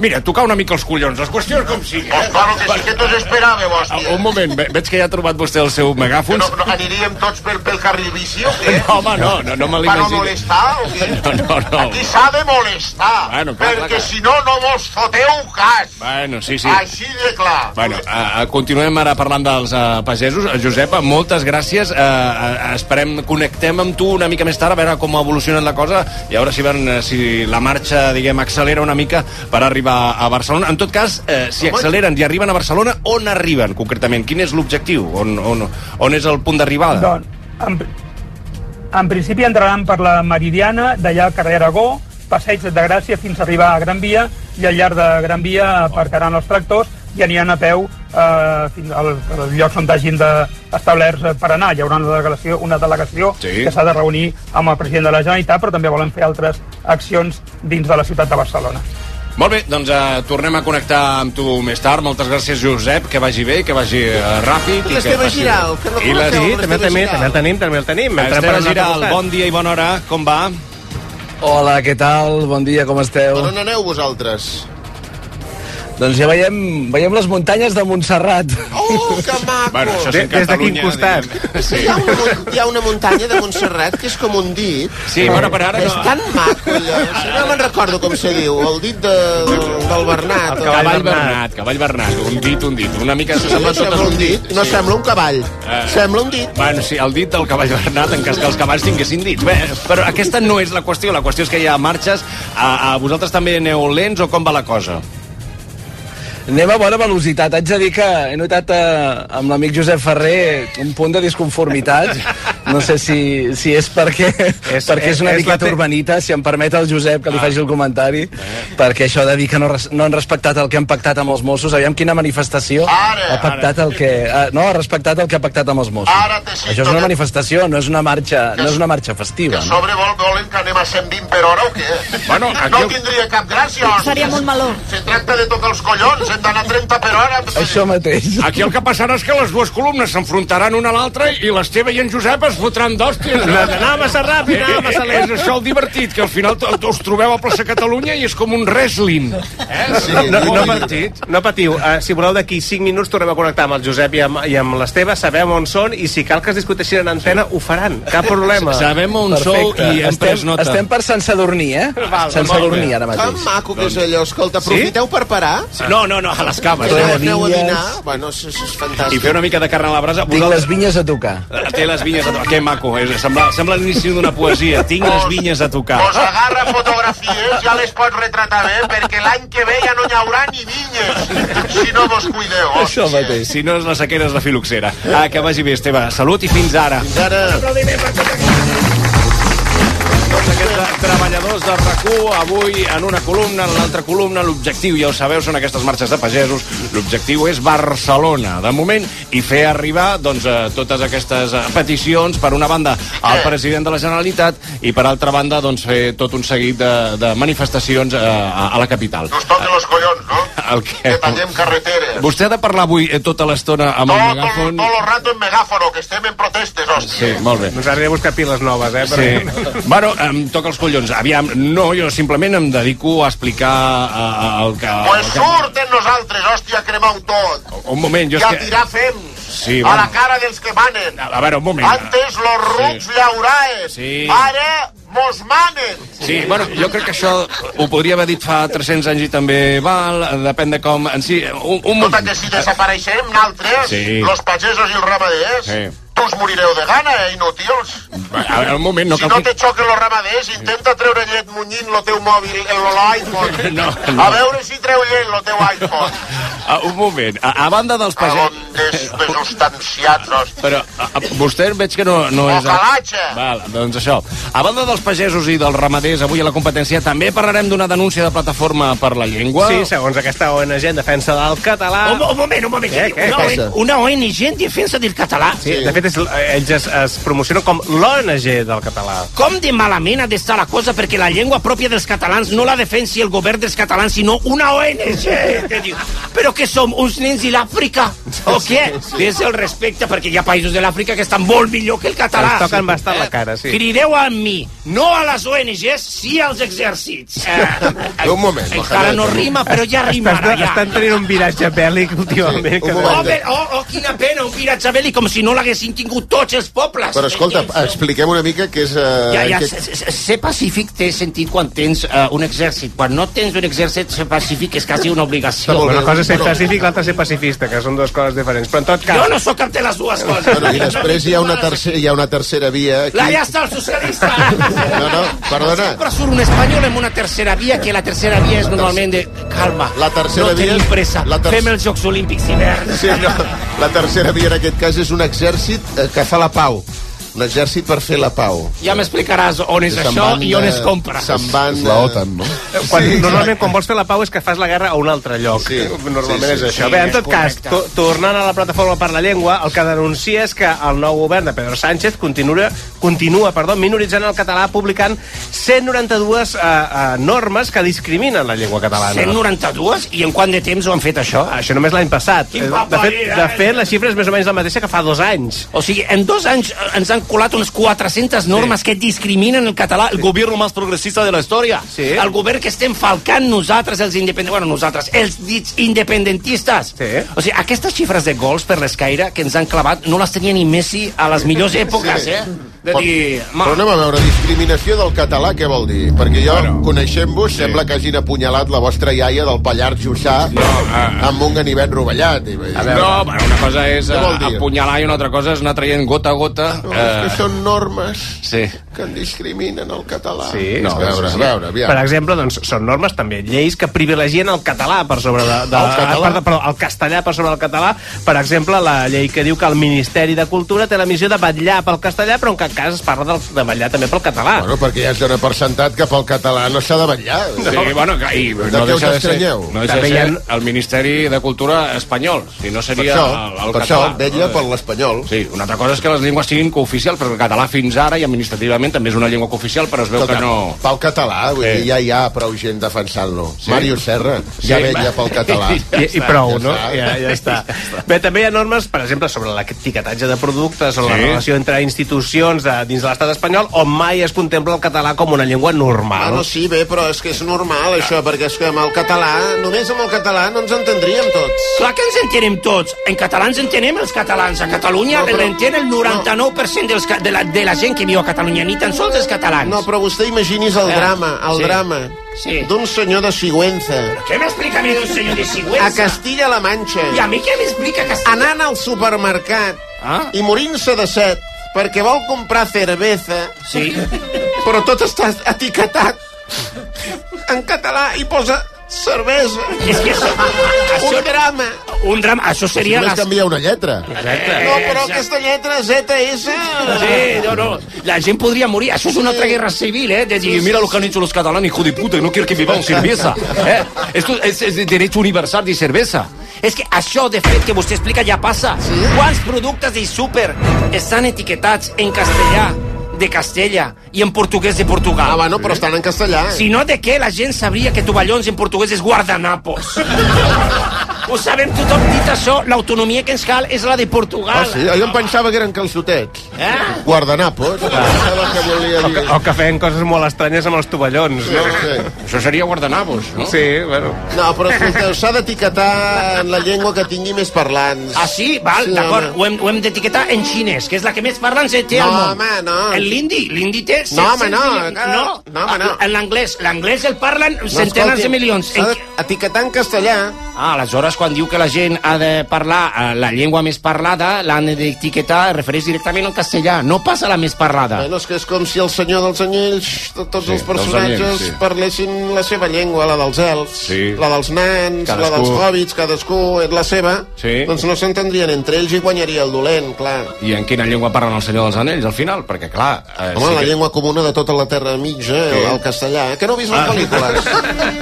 [SPEAKER 5] Mira, tocar una mica els collons, les qüestions com sigui. Eh? Ah,
[SPEAKER 12] Claro que sí, que tots esperàvem, hòstia.
[SPEAKER 5] Un moment, ve- veig que ja ha trobat vostè el seu megàfon.
[SPEAKER 12] No, no, aniríem tots pel, pel carril bici, o què?
[SPEAKER 5] No, home, no, no, no me
[SPEAKER 12] Per no
[SPEAKER 5] l'imagino.
[SPEAKER 12] molestar, o què?
[SPEAKER 5] No, no, no.
[SPEAKER 12] Aquí s'ha de molestar,
[SPEAKER 5] Bueno, Ah, clar, clar,
[SPEAKER 12] perquè
[SPEAKER 5] clar.
[SPEAKER 12] si Ah, no, no vos foteu cas.
[SPEAKER 5] Bueno, sí, sí.
[SPEAKER 12] Així de clar.
[SPEAKER 5] Bueno, uh, continuem ara parlant dels uh, pagesos. Eh, Josep, eh, moltes gràcies. Uh, uh, esperem, connectem amb tu una mica més tard, a veure com ha evolucionat la cosa i a veure si, van, eh, si la marxa, diguem, accelera una mica per arribar a Barcelona. En tot cas, uh, si acceleren i arriben a Barcelona, on arriben, concretament? Quin és l'objectiu? On, on, on és el punt d'arribada?
[SPEAKER 11] Doncs, en, en principi entraran per la Meridiana, d'allà al carrer Aragó, passeig de Gràcia fins a arribar a Gran Via, i al llarg de Gran Via aparcaran els tractors i aniran a peu eh, fins al, als llocs on hagin d'establerts eh, per anar. Hi haurà una delegació, una delegació
[SPEAKER 5] Sí.
[SPEAKER 11] que s'ha de reunir amb el president de la Generalitat, però també volen fer altres accions dins de la ciutat de Barcelona.
[SPEAKER 5] Molt bé, doncs eh, tornem a connectar amb tu més tard. Moltes gràcies, Josep, que vagi bé, que vagi eh, ràpid. i que
[SPEAKER 7] L'Esteve
[SPEAKER 5] passi bé.
[SPEAKER 7] Giral, que no
[SPEAKER 5] I la-
[SPEAKER 7] coneixeu, Sí, també l'Esteve tenim, Giral. també el tenim, també el tenim. Entrem per
[SPEAKER 5] Esteve
[SPEAKER 7] un altre
[SPEAKER 5] Giral,
[SPEAKER 7] costat.
[SPEAKER 5] bon dia i bona hora, com va?
[SPEAKER 13] Hola, què tal? Bon dia, com esteu?
[SPEAKER 3] Per on aneu vosaltres?
[SPEAKER 13] Doncs ja veiem, veiem les muntanyes de Montserrat.
[SPEAKER 10] Oh, que maco!
[SPEAKER 13] Bueno, això sí,
[SPEAKER 10] Des de
[SPEAKER 13] Catalunya,
[SPEAKER 10] quin costat?
[SPEAKER 13] Sí.
[SPEAKER 10] Hi ha, una, mun- hi ha una muntanya de Montserrat que és com un dit.
[SPEAKER 5] Sí, però per ara
[SPEAKER 10] És
[SPEAKER 5] no.
[SPEAKER 10] tan maco, allò. No me'n recordo com se diu. El dit de, del Bernat.
[SPEAKER 5] El cavall Bernat, cavall Bernat, un dit, un dit, una mica
[SPEAKER 10] Sí,
[SPEAKER 5] s'assembla tot
[SPEAKER 10] sembla
[SPEAKER 5] a
[SPEAKER 10] un dit. No sembla un cavall.
[SPEAKER 5] Eh.
[SPEAKER 10] Sembla un dit.
[SPEAKER 5] Bueno, sí, el dit del cavall Bernat, en cas que els cavalls tinguessin dits. Bé, però aquesta no és la qüestió, la qüestió és que hi ha marxes. A, a vosaltres també aneu lents o com va la cosa?
[SPEAKER 13] Anem a bona velocitat. Haig de dir que he notat eh, amb l'amic Josep Ferrer un punt de disconformitat. No sé si, si és perquè és, perquè és una
[SPEAKER 7] és la
[SPEAKER 13] miqueta
[SPEAKER 7] te- Ah. Eh.
[SPEAKER 13] urbanita, si em permet el Josep que li faci el comentari, perquè això de dir que no, res- no han respectat el que han pactat amb els Mossos, aviam quina manifestació ha pactat el que... eh, No, ha respectat el que ha pactat amb els Mossos. Això és una manifestació, no és una marxa, no és una marxa festiva.
[SPEAKER 12] A
[SPEAKER 13] No?
[SPEAKER 12] sobre vol, volen que anem a 120 per hora o què?
[SPEAKER 13] Bueno, aquí
[SPEAKER 12] No
[SPEAKER 13] el-
[SPEAKER 12] tindria cap gràcia, hòstia.
[SPEAKER 13] Seria molt
[SPEAKER 12] meló. Se tracta de tocar els collons, hem d'anar a 30 per hora.
[SPEAKER 13] Això mateix.
[SPEAKER 5] Aquí el que passarà és que les dues columnes s'enfrontaran una a l'altra i l'Esteve i en Josep es fotran d'hòsties.
[SPEAKER 7] Anar massa ràpid, anar massa lent.
[SPEAKER 5] És això el divertit, que al final to- to- us trobeu a plaça Catalunya i és com un wrestling. Eh?
[SPEAKER 7] Sí, no, no, no, patiu, no patiu. Uh, si voleu, d'aquí 5 minuts tornem a connectar amb el Josep i amb, i amb l'Esteve, sabem on són i si cal que es discuteixin en antena, ho faran. Cap problema.
[SPEAKER 13] estem, estem per Sant Sadurní, eh?
[SPEAKER 7] Val,
[SPEAKER 13] Sant
[SPEAKER 7] molt bé.
[SPEAKER 13] Sadurní, ara mateix. Doncs-
[SPEAKER 10] Que maco que és allò. Escolta,
[SPEAKER 13] Sí?
[SPEAKER 10] aprofiteu per parar.
[SPEAKER 13] Sí. No, no, no, a les cames. eh?
[SPEAKER 10] Aneu, aneu a
[SPEAKER 13] Claravies.
[SPEAKER 10] dinar. Bueno, això, això és fantàstic.
[SPEAKER 5] I fer una mica de carn a la brasa.
[SPEAKER 13] Tinc les vinyes a tocar.
[SPEAKER 5] Eh, Té les vinyes a tocar. Que maco, és, sembla, sembla l'inici d'una poesia. Tinc les vinyes a tocar.
[SPEAKER 12] Pues agarra fotografies, ja les pots retratar bé, perquè l'any que ve ja no hi haurà ni vinyes, si no vos cuideu.
[SPEAKER 5] Això mateix. Si no és la sequera, és la filoxera. Ah, que vagi bé, Esteve. Salut i fins ara. Fins
[SPEAKER 3] ara.
[SPEAKER 5] treballadors del RAC1, avui en una columna, en l'altra columna, l'objectiu, ja ho sabeu, són aquestes marxes de pagesos, l'objectiu és Barcelona, de moment, i fer arribar doncs, eh, totes aquestes eh, peticions, per una banda,
[SPEAKER 12] Eh.
[SPEAKER 5] al president de la Generalitat, i per altra banda, doncs, fer tot un seguit de, de manifestacions eh, a, a la capital.
[SPEAKER 12] Us toquen els collons, no?
[SPEAKER 5] El que...
[SPEAKER 12] Tallem carreteres.
[SPEAKER 5] Vostè ha de parlar avui eh, tota l'estona amb el megàfon?
[SPEAKER 12] Todo el rato en megáfono, que estem en protestes, hòstia.
[SPEAKER 5] Sí, molt bé.
[SPEAKER 7] Ens has de buscar piles noves, eh?
[SPEAKER 5] Sí. Bueno, em toca els collons. Aviam, no, jo simplement em dedico a explicar eh, el que...
[SPEAKER 12] Pues
[SPEAKER 5] El que...
[SPEAKER 12] surten nosaltres, hòstia, cremau tot.
[SPEAKER 5] Un moment, jo
[SPEAKER 12] I a
[SPEAKER 5] és que...
[SPEAKER 12] tirar fem.
[SPEAKER 5] Sí,
[SPEAKER 12] a
[SPEAKER 5] bueno.
[SPEAKER 12] la cara dels que manen.
[SPEAKER 5] A veure, un moment.
[SPEAKER 12] Antes los rucs
[SPEAKER 5] Sí.
[SPEAKER 12] llauraes.
[SPEAKER 5] Sí.
[SPEAKER 12] Ara mos manen.
[SPEAKER 5] Sí, bueno, jo crec que això ho podria haver dit fa 300 anys i també val, depèn de com... En si, un, un moment.
[SPEAKER 12] Que si desapareixem naltres,
[SPEAKER 5] Sí.
[SPEAKER 12] los pagesos i els ramaders,
[SPEAKER 5] Sí.
[SPEAKER 12] tots morireu de gana, eh, inútils.
[SPEAKER 5] A veure, un moment, no
[SPEAKER 12] si
[SPEAKER 5] cal...
[SPEAKER 12] no te xoquen los ramaders, intenta treure llet munyint lo teu mòbil, el lo iPhone.
[SPEAKER 5] No,
[SPEAKER 12] A
[SPEAKER 5] no.
[SPEAKER 12] veure si treu llet lo teu iPhone.
[SPEAKER 5] Ah, un moment, a, a banda dels pagesos...
[SPEAKER 12] Desustanciats, hòstia.
[SPEAKER 5] Però a, a, vostè veig que no, no és...
[SPEAKER 12] Ocalatge.
[SPEAKER 5] Val, doncs això. A banda dels pagesos i dels ramaders, avui a la competència també parlarem d'una denúncia de plataforma per la llengua.
[SPEAKER 7] Sí, segons aquesta ONG en defensa del català...
[SPEAKER 5] Un mo- un moment, un moment.
[SPEAKER 7] Què,
[SPEAKER 4] Eh,
[SPEAKER 7] què?
[SPEAKER 5] Una
[SPEAKER 7] Passa?
[SPEAKER 5] ONG
[SPEAKER 7] Una ONG en defensa del català? Sí, de fet, és, ells es, es promocionen com l'ONG del català.
[SPEAKER 4] Com de malament ha d'estar la cosa perquè la llengua pròpia dels catalans no la defensi el govern dels catalans, sinó una ONG. Que diu, però que som uns nens de l'Àfrica, o què? Des el respecte, perquè hi ha països de l'Àfrica que estan molt millor que el català.
[SPEAKER 7] Ens toquen bastant la cara, sí.
[SPEAKER 4] Crideu a mi, no a les ONGs, sí als exèrcits. Eh,
[SPEAKER 3] Un moment,
[SPEAKER 4] encara no rima, però ja rimarà,
[SPEAKER 7] Estan,
[SPEAKER 4] ja.
[SPEAKER 7] estan tenint un viratge bèl·lic últimament.
[SPEAKER 3] Eh.
[SPEAKER 7] Sí,
[SPEAKER 4] Oh, bé, oh, oh, quina pena, un viratge bèl·lic, com si no l'haguessin tingut tots els pobles. Eh,
[SPEAKER 3] Però escolta, eh, expliquem una mica què és... Eh,
[SPEAKER 4] Ja, ja,
[SPEAKER 3] què-
[SPEAKER 4] s- s- ser pacífic té sentit quan tens eh, un exèrcit. Quan no tens un exèrcit, ser pacífic és quasi una obligació.
[SPEAKER 7] Una cosa és ser pacífic, l'altra és ser pacifista, que són dues coses diferents. Però en tot cas...
[SPEAKER 4] Jo no sóc cap de les dues coses.
[SPEAKER 3] Bueno, I després hi ha una tercera, hi ha una tercera via. Aquí.
[SPEAKER 4] La ja està el socialista.
[SPEAKER 3] No, no, perdona.
[SPEAKER 4] Però surt un espanyol amb una tercera via, que la tercera via és normalment de... Calma, la
[SPEAKER 3] tercera
[SPEAKER 4] no
[SPEAKER 3] via-
[SPEAKER 4] tenim pressa.
[SPEAKER 3] la ter-
[SPEAKER 4] Fem els Jocs Olímpics d'hivern.
[SPEAKER 3] Sí, no. La tercera via en aquest cas és un exèrcit eh, que fa la pau. Un exèrcit per fer la pau.
[SPEAKER 4] Ja m'explicaràs on és
[SPEAKER 3] Se'n
[SPEAKER 4] això
[SPEAKER 3] van,
[SPEAKER 4] i on
[SPEAKER 3] eh,
[SPEAKER 4] es compra.
[SPEAKER 3] Se'n van...
[SPEAKER 9] És la OTAN,
[SPEAKER 3] no?
[SPEAKER 7] Eh, Quan, sí, normalment quan vols fer la pau és que fas la guerra a un altre lloc. Sí, normalment
[SPEAKER 3] sí,
[SPEAKER 7] és
[SPEAKER 3] sí,
[SPEAKER 7] això.
[SPEAKER 3] sí,
[SPEAKER 7] Bé, en
[SPEAKER 3] és
[SPEAKER 7] tot cas,
[SPEAKER 3] correcte.
[SPEAKER 7] to tornant a la plataforma per la llengua, el que denuncia és que el nou govern de Pedro Sánchez continua, continua perdó, minoritzant el català publicant 192 eh, eh, normes que discriminen la llengua catalana. Ah,
[SPEAKER 4] 192? I en quant de temps ho han fet això?
[SPEAKER 7] Això només l'any passat.
[SPEAKER 4] Quin
[SPEAKER 7] Eh,
[SPEAKER 4] paper,
[SPEAKER 7] de, fet,
[SPEAKER 4] eh?
[SPEAKER 7] de fet, la xifra és més o menys la mateixa que fa dos anys.
[SPEAKER 4] O sigui, en dos anys eh, ens han colat unes 400 normes sí. que discriminen el català, el govern més progressista de la història. Sí. El govern que estem falcant nosaltres, els independents... Bueno, nosaltres, els dits independentistes. Sí. O sigui, aquestes xifres de gols per l'escaire que ens han clavat no les tenia ni Messi a les millors èpoques, sí. eh? De
[SPEAKER 3] Però-
[SPEAKER 4] dir... ma-
[SPEAKER 3] Però anem a veure, discriminació del català, què vol dir? Perquè jo, bueno, coneixent-vos, sí. sembla que hagin apunyalat la vostra iaia del Pallars Jussà no,
[SPEAKER 4] eh.
[SPEAKER 3] amb un ganivet rovellat. I, a
[SPEAKER 5] No, bueno, una cosa és
[SPEAKER 3] Què vol dir?
[SPEAKER 5] eh, apunyalar i una altra cosa és anar traient gota a gota. eh,
[SPEAKER 3] No, és que són normes
[SPEAKER 5] Sí.
[SPEAKER 3] que en discriminen el català.
[SPEAKER 7] Sí,
[SPEAKER 3] no, a veure, a veure, aviam.
[SPEAKER 7] Per exemple, doncs, són normes també, lleis que privilegien el català per sobre de, de,
[SPEAKER 3] El català?
[SPEAKER 7] perdó, perdó, el castellà per sobre del català. Per exemple, la llei que diu que el Ministeri de Cultura té la missió de vetllar pel castellà, però en cap cas es parla del, de vetllar també pel català.
[SPEAKER 3] Bueno, perquè ja es dona per sentat que pel català no s'ha de vetllar.
[SPEAKER 5] Sí, bueno, que- i
[SPEAKER 3] De
[SPEAKER 5] no
[SPEAKER 3] què us
[SPEAKER 5] deixa de ser,
[SPEAKER 3] estranyeu?
[SPEAKER 5] no deixa de
[SPEAKER 3] També hi
[SPEAKER 5] ser
[SPEAKER 3] ha-
[SPEAKER 5] el Ministeri de Cultura espanyol, si no seria
[SPEAKER 3] Per això,
[SPEAKER 5] el, el
[SPEAKER 3] per
[SPEAKER 5] català.
[SPEAKER 3] això, vetlla per l'espanyol.
[SPEAKER 5] Sí, una altra cosa és que les llengües siguin cooficials, perquè el català fins ara i administrativament també és una llengua cooficial, però es veu que no...
[SPEAKER 3] Pel català, vull dir, ja hi ha prou gent defensant-lo.
[SPEAKER 5] Sí.
[SPEAKER 3] Sí. Màrius Serra, ja
[SPEAKER 7] Sí,
[SPEAKER 3] vetlla
[SPEAKER 7] va.
[SPEAKER 3] pel català.
[SPEAKER 7] I, i prou, no? Ja,
[SPEAKER 3] està.
[SPEAKER 7] ja està. Bé, també hi ha normes, per exemple, sobre l'etiquetatge de productes, sobre sí.
[SPEAKER 3] Sí.
[SPEAKER 7] la relació entre institucions de, dins de l'estat espanyol, on mai es contempla el català com una llengua normal.
[SPEAKER 10] Bueno, sí, bé, però és que és normal, això, perquè és que amb el català, només amb el català no ens entendríem tots.
[SPEAKER 4] Clar que ens entenem tots. En català ens entenem els catalans. A Catalunya
[SPEAKER 10] No,
[SPEAKER 4] no,
[SPEAKER 10] però-
[SPEAKER 4] l'entén el 99% dels, ca- de, la, de la gent que viu a Catalunya, ni tan sols els catalans.
[SPEAKER 10] No, però vostè imagini's el
[SPEAKER 4] Eh,
[SPEAKER 10] drama, el
[SPEAKER 4] sí.
[SPEAKER 10] drama
[SPEAKER 4] Sí.
[SPEAKER 10] d'un senyor de Sigüenza.
[SPEAKER 4] Què m'explica a mi d'un senyor de Sigüenza?
[SPEAKER 10] A Castilla-La Manxa.
[SPEAKER 4] I a mi què m'explica Castilla?
[SPEAKER 10] Anant al supermercat
[SPEAKER 4] Ah?
[SPEAKER 10] i morint-se de set perquè vol comprar cervesa,
[SPEAKER 4] Sí.
[SPEAKER 10] però tot està etiquetat en català i posa cervesa.
[SPEAKER 4] És que això,
[SPEAKER 10] Un drama.
[SPEAKER 4] Un drama, això seria...
[SPEAKER 10] Si només
[SPEAKER 3] canvia una lletra.
[SPEAKER 4] Exacte.
[SPEAKER 10] No, però aquesta lletra E ZS...
[SPEAKER 4] Eh, Sí, no, no. La gent podria morir. Això és una altra guerra civil, eh? De dir,
[SPEAKER 5] Y mira lo que han hecho los catalanes, hijo de puta, no quiero que bebamos cerveza. Eh? Esto es, es de derecho universal de cerveza.
[SPEAKER 4] És que això, de fet, que vostè explica ja passa. Sí? Quants productes del súper estan etiquetats en castellà de Castella i en portuguès de Portugal? Ah,
[SPEAKER 10] bueno, però estan en castellà.
[SPEAKER 4] Si no, de què la gent sabria que tovallons en portuguès és guardanapos? Ho sabem tothom dit això, l'autonomia que ens cal és la de Portugal.
[SPEAKER 3] Ah, sí? Jo em pensava que eren calçotets. Eh? Guardanapos.
[SPEAKER 7] Ah.
[SPEAKER 3] Pensava que volia dir...
[SPEAKER 7] O que feien coses molt estranyes amb els tovallons, no?
[SPEAKER 3] Sí.
[SPEAKER 5] Això seria guardanavos, no?
[SPEAKER 7] Sí, bueno.
[SPEAKER 10] No, però escolteu, s'ha d'etiquetar en la llengua que tingui més parlants.
[SPEAKER 4] Ah, sí? Val,
[SPEAKER 10] Sí,
[SPEAKER 4] d'acord.
[SPEAKER 10] home.
[SPEAKER 4] Ho hem, ho hem d'etiquetar en xinès, que és la que més parlen se té
[SPEAKER 10] No,
[SPEAKER 4] al món.
[SPEAKER 10] home, no.
[SPEAKER 4] El l'indi, l'indi té...
[SPEAKER 10] No, home,
[SPEAKER 4] 700
[SPEAKER 10] no,
[SPEAKER 4] milions.
[SPEAKER 10] no,
[SPEAKER 4] No,
[SPEAKER 10] no, home, no.
[SPEAKER 4] En l'anglès, l'anglès el parlen centenars
[SPEAKER 10] escolti,
[SPEAKER 4] de milions.
[SPEAKER 10] s'ha d'etiquetar en castellà.
[SPEAKER 4] Ah, aleshores, quan diu que la gent ha de parlar eh, la llengua més parlada, l'han d'etiquetar, es refereix directament al castellà, no passa a la més parlada.
[SPEAKER 10] Bueno, és que és com si el senyor dels anyells, to- tots
[SPEAKER 4] Sí,
[SPEAKER 10] els personatges,
[SPEAKER 4] dels anyells, sí.
[SPEAKER 10] parlessin la seva llengua, la dels elfs,
[SPEAKER 4] Sí.
[SPEAKER 10] la dels nans,
[SPEAKER 4] Cadascú.
[SPEAKER 10] la dels hobbits, cadascú és la seva,
[SPEAKER 5] Sí.
[SPEAKER 10] doncs no s'entendrien entre ells i guanyaria el dolent, clar.
[SPEAKER 5] I en quina llengua parlen el senyor dels anells, al final? Perquè, clar... Eh,
[SPEAKER 10] Home,
[SPEAKER 5] sí
[SPEAKER 10] la
[SPEAKER 5] que-
[SPEAKER 10] llengua comuna de tota la Terra Mitja, el, el castellà, que no he vist les pel·lícules.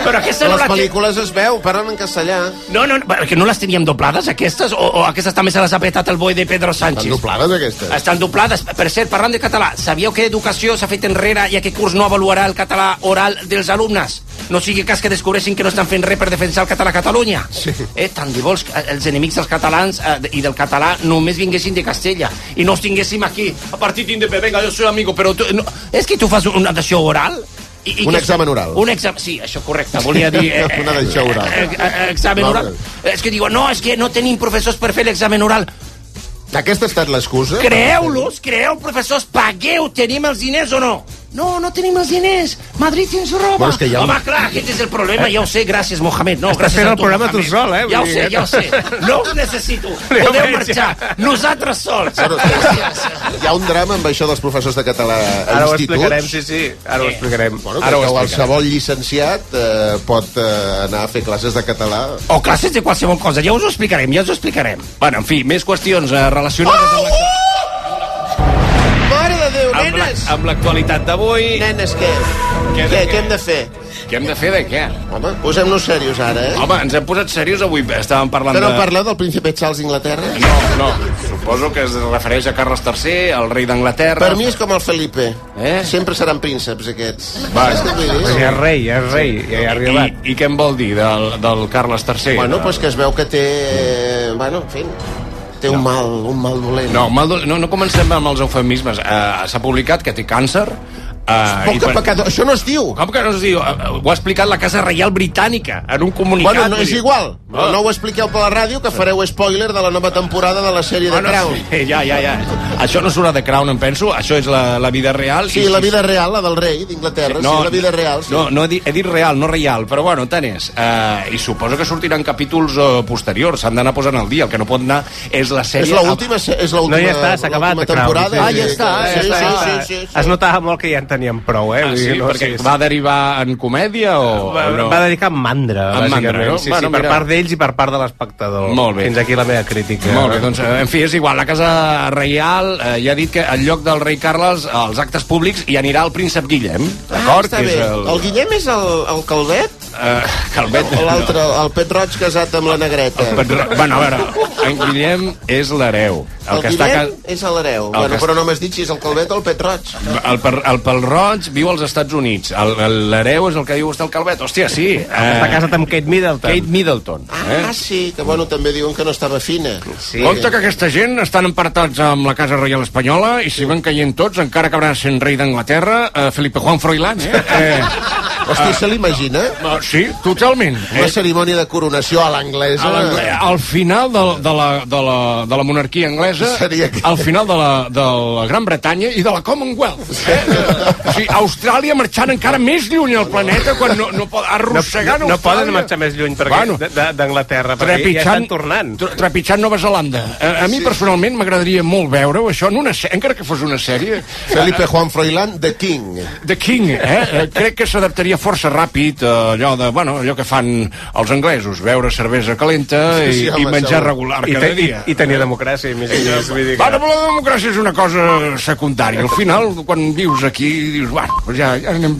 [SPEAKER 4] Però aquesta
[SPEAKER 10] A
[SPEAKER 4] no
[SPEAKER 10] les
[SPEAKER 4] la té...
[SPEAKER 10] pel·lícules es veu, parlen en castellà.
[SPEAKER 4] No, no, no, perquè no les teníem doblades, aquestes? O, o aquestes també se les ha petat el boi de Pedro Sánchez?
[SPEAKER 3] Estan doblades, aquestes?
[SPEAKER 4] Estan doblades. Per cert, parlant de català, sabíeu que Educació s'ha fet enrere i aquest curs no avaluarà el català oral dels alumnes? No sigui cas que descobreixin que no estan fent res per defensar el català a Catalunya. Sí. Eh, tant de vols que els enemics dels catalans eh, i del català només vinguessin de Castella i no els tinguéssim aquí. A partit independent, venga, jo soy amigo, però tu... No, és que tu fas una d'això oral? I,
[SPEAKER 3] Un
[SPEAKER 4] que-
[SPEAKER 3] examen oral.
[SPEAKER 4] Un examen, sí, això correcte, volia dir...
[SPEAKER 3] Una d'això oral.
[SPEAKER 4] Eh, eh, examen
[SPEAKER 3] Vale.
[SPEAKER 4] oral. És que diuen, no, és que no tenim professors per fer l'examen oral.
[SPEAKER 3] Aquesta ha estat l'excusa?
[SPEAKER 4] Creeu-los, creeu, professors, pagueu, tenim els diners o no? No, no tenim els diners. Madrid ens roba.
[SPEAKER 3] Bueno, és que hi ha un-
[SPEAKER 4] Home, clar, aquest és el problema, ja ho sé, gràcies, Mohamed. No,
[SPEAKER 7] Estàs
[SPEAKER 4] gràcies
[SPEAKER 7] fent
[SPEAKER 4] a
[SPEAKER 7] el programa tu
[SPEAKER 4] Mohamed.
[SPEAKER 7] sol, eh?
[SPEAKER 4] Ja ho
[SPEAKER 7] Vull
[SPEAKER 4] sé,
[SPEAKER 7] dir,
[SPEAKER 4] ja ho sé. No us necessito. Podeu marxar. Nosaltres sols.
[SPEAKER 3] Hi ha un drama amb això dels professors de català a
[SPEAKER 7] Ara ho
[SPEAKER 3] instituts?
[SPEAKER 7] explicarem, sí, sí. Ara ho explicarem.
[SPEAKER 3] Bueno,
[SPEAKER 7] Ara ho
[SPEAKER 3] que
[SPEAKER 7] explicarem.
[SPEAKER 3] qualsevol llicenciat eh, pot eh, anar a fer classes de català.
[SPEAKER 4] O classes de qualsevol cosa, ja us ho explicarem, ja us ho explicarem. Bueno, en fi, més qüestions eh, relacionades amb la...
[SPEAKER 10] Mare de Déu,
[SPEAKER 5] Ah,
[SPEAKER 4] Amb la-
[SPEAKER 10] nenes!
[SPEAKER 4] amb l'actualitat d'avui...
[SPEAKER 10] Nenes, què? Què,
[SPEAKER 5] de
[SPEAKER 10] què,
[SPEAKER 5] què?
[SPEAKER 10] què hem de fer?
[SPEAKER 5] Què hem de fer de què?
[SPEAKER 3] Home, posem-nos serios ara, eh?
[SPEAKER 5] Home, ens hem posat serios avui. Estàvem parlant
[SPEAKER 3] Que no
[SPEAKER 5] de...
[SPEAKER 3] parleu del príncipe Charles d'Inglaterra?
[SPEAKER 5] No, suposo que es refereix a Carles III, el rei d'Anglaterra.
[SPEAKER 3] Per mi és com el Felipe. Eh? Sempre seran prínceps, aquests.
[SPEAKER 5] Va.
[SPEAKER 3] Saps què vull dir?
[SPEAKER 7] És rei, és rei, ja hi ha arribat.
[SPEAKER 5] eh? I, I què em vol dir del, del Carles III?
[SPEAKER 3] Bueno, pues que es veu que té... eh, Bueno, en fi, té un mal, un mal dolent.
[SPEAKER 5] Eh, No, mal do... no, no comencem amb els eufemismes. Uh, S'ha publicat que té càncer. Uh,
[SPEAKER 3] Poca pecador, això no es diu.
[SPEAKER 5] Com que no es diu? Uh, ho ha explicat la Casa Reial Britànica en un comunicat.
[SPEAKER 3] Bueno, no
[SPEAKER 5] vull
[SPEAKER 3] és
[SPEAKER 5] dir.
[SPEAKER 3] igual.
[SPEAKER 5] Ah.
[SPEAKER 3] No, no ho expliqueu per la ràdio, que fareu spoiler de la nova temporada de la sèrie de
[SPEAKER 5] Bueno,
[SPEAKER 3] Crown.
[SPEAKER 5] sí, Eh, ja, ja, ja. Això no surt a The Crown, em penso. Això és la, la vida real.
[SPEAKER 3] Sí,
[SPEAKER 5] I-
[SPEAKER 3] la
[SPEAKER 5] i-
[SPEAKER 3] vida real, la del rei d'Inglaterra. Sí, la vida real, sí.
[SPEAKER 5] No, no he, dit, he dit real, no reial, però bueno, tant és. Uh, I suposo que sortiran capítols uh, posteriors, s'han d'anar posant al dia. El que no pot anar és la sèrie...
[SPEAKER 3] És l'última, és l'última
[SPEAKER 7] No, ja està, s'ha acabat.
[SPEAKER 3] l'última temporada.
[SPEAKER 7] Crown.
[SPEAKER 3] Ah, ja està,
[SPEAKER 7] ja
[SPEAKER 3] sí,
[SPEAKER 7] està,
[SPEAKER 3] sí,
[SPEAKER 7] ja
[SPEAKER 3] sí,
[SPEAKER 7] està.
[SPEAKER 3] sí, sí.
[SPEAKER 7] Es notava molt que ja en teníem prou, eh?
[SPEAKER 5] Ah,
[SPEAKER 7] Vull
[SPEAKER 5] sí,
[SPEAKER 7] dir, no,
[SPEAKER 5] perquè va derivar en comèdia o,
[SPEAKER 7] Va,
[SPEAKER 5] o Oh, no?
[SPEAKER 7] va dedicar mandra,
[SPEAKER 5] En mandra,
[SPEAKER 7] bàsicament.
[SPEAKER 5] no?
[SPEAKER 7] Sí,
[SPEAKER 5] Bueno,
[SPEAKER 7] sí, per
[SPEAKER 5] mira.
[SPEAKER 7] part d'ells i per part de l'espectador.
[SPEAKER 5] Molt bé.
[SPEAKER 7] Fins aquí la meva crítica.
[SPEAKER 5] Molt bé, doncs, eh, en fi, és igual. La Casa Reial eh, ja ha dit que en lloc del rei Carles, als actes públics, hi anirà el príncep Guillem, d'acord?
[SPEAKER 3] Ah, Està
[SPEAKER 5] que
[SPEAKER 3] bé.
[SPEAKER 5] és
[SPEAKER 3] El... el Guillem és el, el Calvet?
[SPEAKER 5] Eh, Calvet.
[SPEAKER 3] O l'altre, el Pet Roig casat amb la Negreta?
[SPEAKER 5] El Pedro- Bueno, a veure, en Guillem és l'hereu. El,
[SPEAKER 3] El,
[SPEAKER 5] que està...
[SPEAKER 3] Guillem
[SPEAKER 5] ca-
[SPEAKER 3] és l'hereu.
[SPEAKER 5] El que
[SPEAKER 3] Bueno,
[SPEAKER 5] està-
[SPEAKER 3] però no m'has dit si és el Calvet o el Pet Roig.
[SPEAKER 5] El, per, el pel roig viu als Estats Units. El- el- L'hereu és el que diu vostè el Calvet. Hòstia, sí.
[SPEAKER 7] Està
[SPEAKER 5] Eh,
[SPEAKER 7] casat amb Kate Middleton.
[SPEAKER 5] Kate Middleton. Eh?
[SPEAKER 3] Ah, sí, que bueno, també diuen que no estava fina.
[SPEAKER 5] Sí. Compte que aquesta gent estan empartats amb la Casa Reial Espanyola i si van caient tots, encara acabarà sent rei d'Anglaterra, eh, Felipe Juan Froilán, eh? eh
[SPEAKER 3] Hosti, se l'imagina?
[SPEAKER 5] no, sí, totalment.
[SPEAKER 3] Una
[SPEAKER 5] Eh?
[SPEAKER 3] cerimònia de coronació a l'anglesa.
[SPEAKER 5] A l'angle- Al final de, de, la, de, la, de la monarquia anglesa,
[SPEAKER 3] Seria que-
[SPEAKER 5] al final de la, de la Gran Bretanya i de la Commonwealth. Eh? O sigui, Austràlia marxant encara més lluny al planeta quan no, no pot,
[SPEAKER 7] No,
[SPEAKER 5] arrossegant
[SPEAKER 7] no, no poden
[SPEAKER 5] Austràlia.
[SPEAKER 7] marxar més lluny perquè
[SPEAKER 5] Bueno.
[SPEAKER 7] de- de- d'Anglaterra, perquè ja
[SPEAKER 5] Trepitjant-
[SPEAKER 7] estan tornant.
[SPEAKER 5] tre- Trepitjant Nova Zelanda. A, a mi personalment m'agradaria molt veure-ho, això, en una, sè- encara que fos una sèrie. eh,
[SPEAKER 3] Felipe Juan Froilán, The King.
[SPEAKER 5] The King, eh? Eh, Crec que s'adaptaria força ràpid a allò de, bueno, allò que fan els anglesos, beure cervesa calenta i,
[SPEAKER 7] Sí, sí, home,
[SPEAKER 5] i menjar
[SPEAKER 7] segur.
[SPEAKER 5] regular
[SPEAKER 7] I
[SPEAKER 5] cada
[SPEAKER 7] te-
[SPEAKER 5] dia.
[SPEAKER 7] i- i tenir democràcia, més o menys, vull dir que-
[SPEAKER 5] Bueno, però la democràcia és una cosa secundària. Al final, quan vius aquí, dius, bueno, doncs ja, ja anem...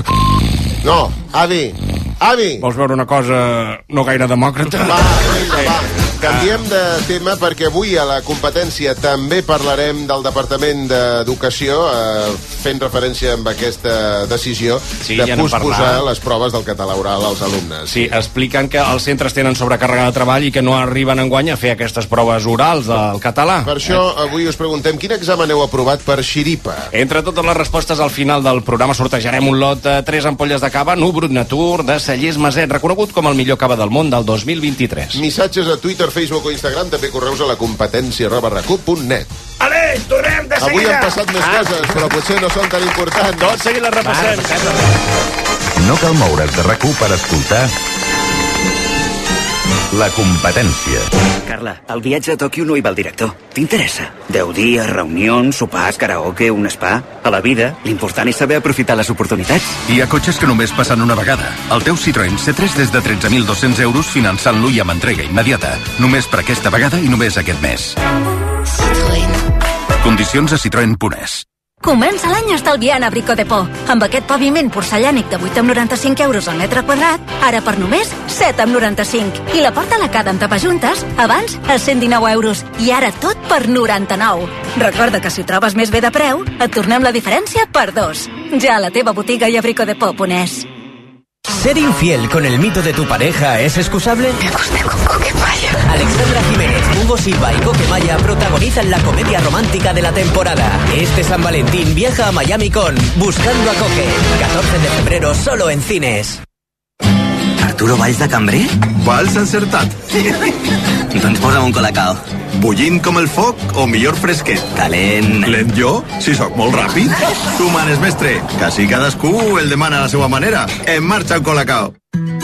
[SPEAKER 3] No, avi, avi.
[SPEAKER 5] Vols veure una cosa no gaire demòcrata?
[SPEAKER 3] Va, vinga, va. Canviem de tema perquè avui a la competència també parlarem del Departament d'Educació eh, fent referència amb aquesta decisió
[SPEAKER 5] Sí,
[SPEAKER 3] de
[SPEAKER 5] ja n'hem
[SPEAKER 3] posposar
[SPEAKER 5] parlat.
[SPEAKER 3] les proves del català oral als alumnes.
[SPEAKER 5] Sí, expliquen que els centres tenen sobrecàrrega de treball i que no arriben enguany a fer aquestes proves orals del català.
[SPEAKER 3] Per això
[SPEAKER 5] Eh?
[SPEAKER 3] avui us preguntem quin examen heu aprovat per xiripa.
[SPEAKER 5] Entre totes les respostes al final del programa sortejarem un lot de 3 ampolles de cava Nubrut Natur de Cellers Maset, reconegut com el millor cava del món del 2023.
[SPEAKER 3] Missatges a Twitter, Facebook o Instagram, també correus a la competència arroba recup.net.
[SPEAKER 4] Ale, tornem de
[SPEAKER 3] Avui han
[SPEAKER 4] seguida!
[SPEAKER 3] passat més coses, però potser no són tan importants.
[SPEAKER 4] Tot seguit les repassem.
[SPEAKER 3] Ah,
[SPEAKER 2] No cal moure's de rac per escoltar la competència.
[SPEAKER 14] Carla, el viatge a Tòquio no hi va el director. T'interessa? Deu dies, reunions, sopars, karaoke, un spa... A la vida, l'important és saber aprofitar les oportunitats.
[SPEAKER 15] Hi ha cotxes que només passen una vegada. El teu Citroën C3 des de 13.200 euros finançant-lo i amb entrega immediata. Només per aquesta vegada i només aquest mes. Condicions a Citroën Punès.
[SPEAKER 16] Comença l'any estalviant a Brico de Por. Amb aquest paviment porcellànic de 8 amb 95 euros al metre quadrat, ara per només 7 amb 95. I la porta lacada amb tapajuntes, abans a 119 euros. I ara tot per 99. Recorda que si ho trobes més bé de preu, et tornem la diferència per dos. Ja a la teva botiga i a bricodepor.es.
[SPEAKER 17] ¿Ser infiel con el mito de tu pareja es excusable? Me gusta con Coquemaya. Alexandra Jiménez, Hugo Silva y Coquemaya protagonizan la comedia romántica de la temporada. Este San Valentín viaja a Miami con Buscando a Coque. 14 de febrero solo en cines.
[SPEAKER 2] Arturo Valls de Cambrer? Valls encertat. doncs posa'm Em un colacao. Bullint com el foc o millor fresquet? Calent. Lent jo? Si sóc molt ràpid. Tu manes, mestre. Quasi cadascú el demana a la seva manera. En marxa el colacao.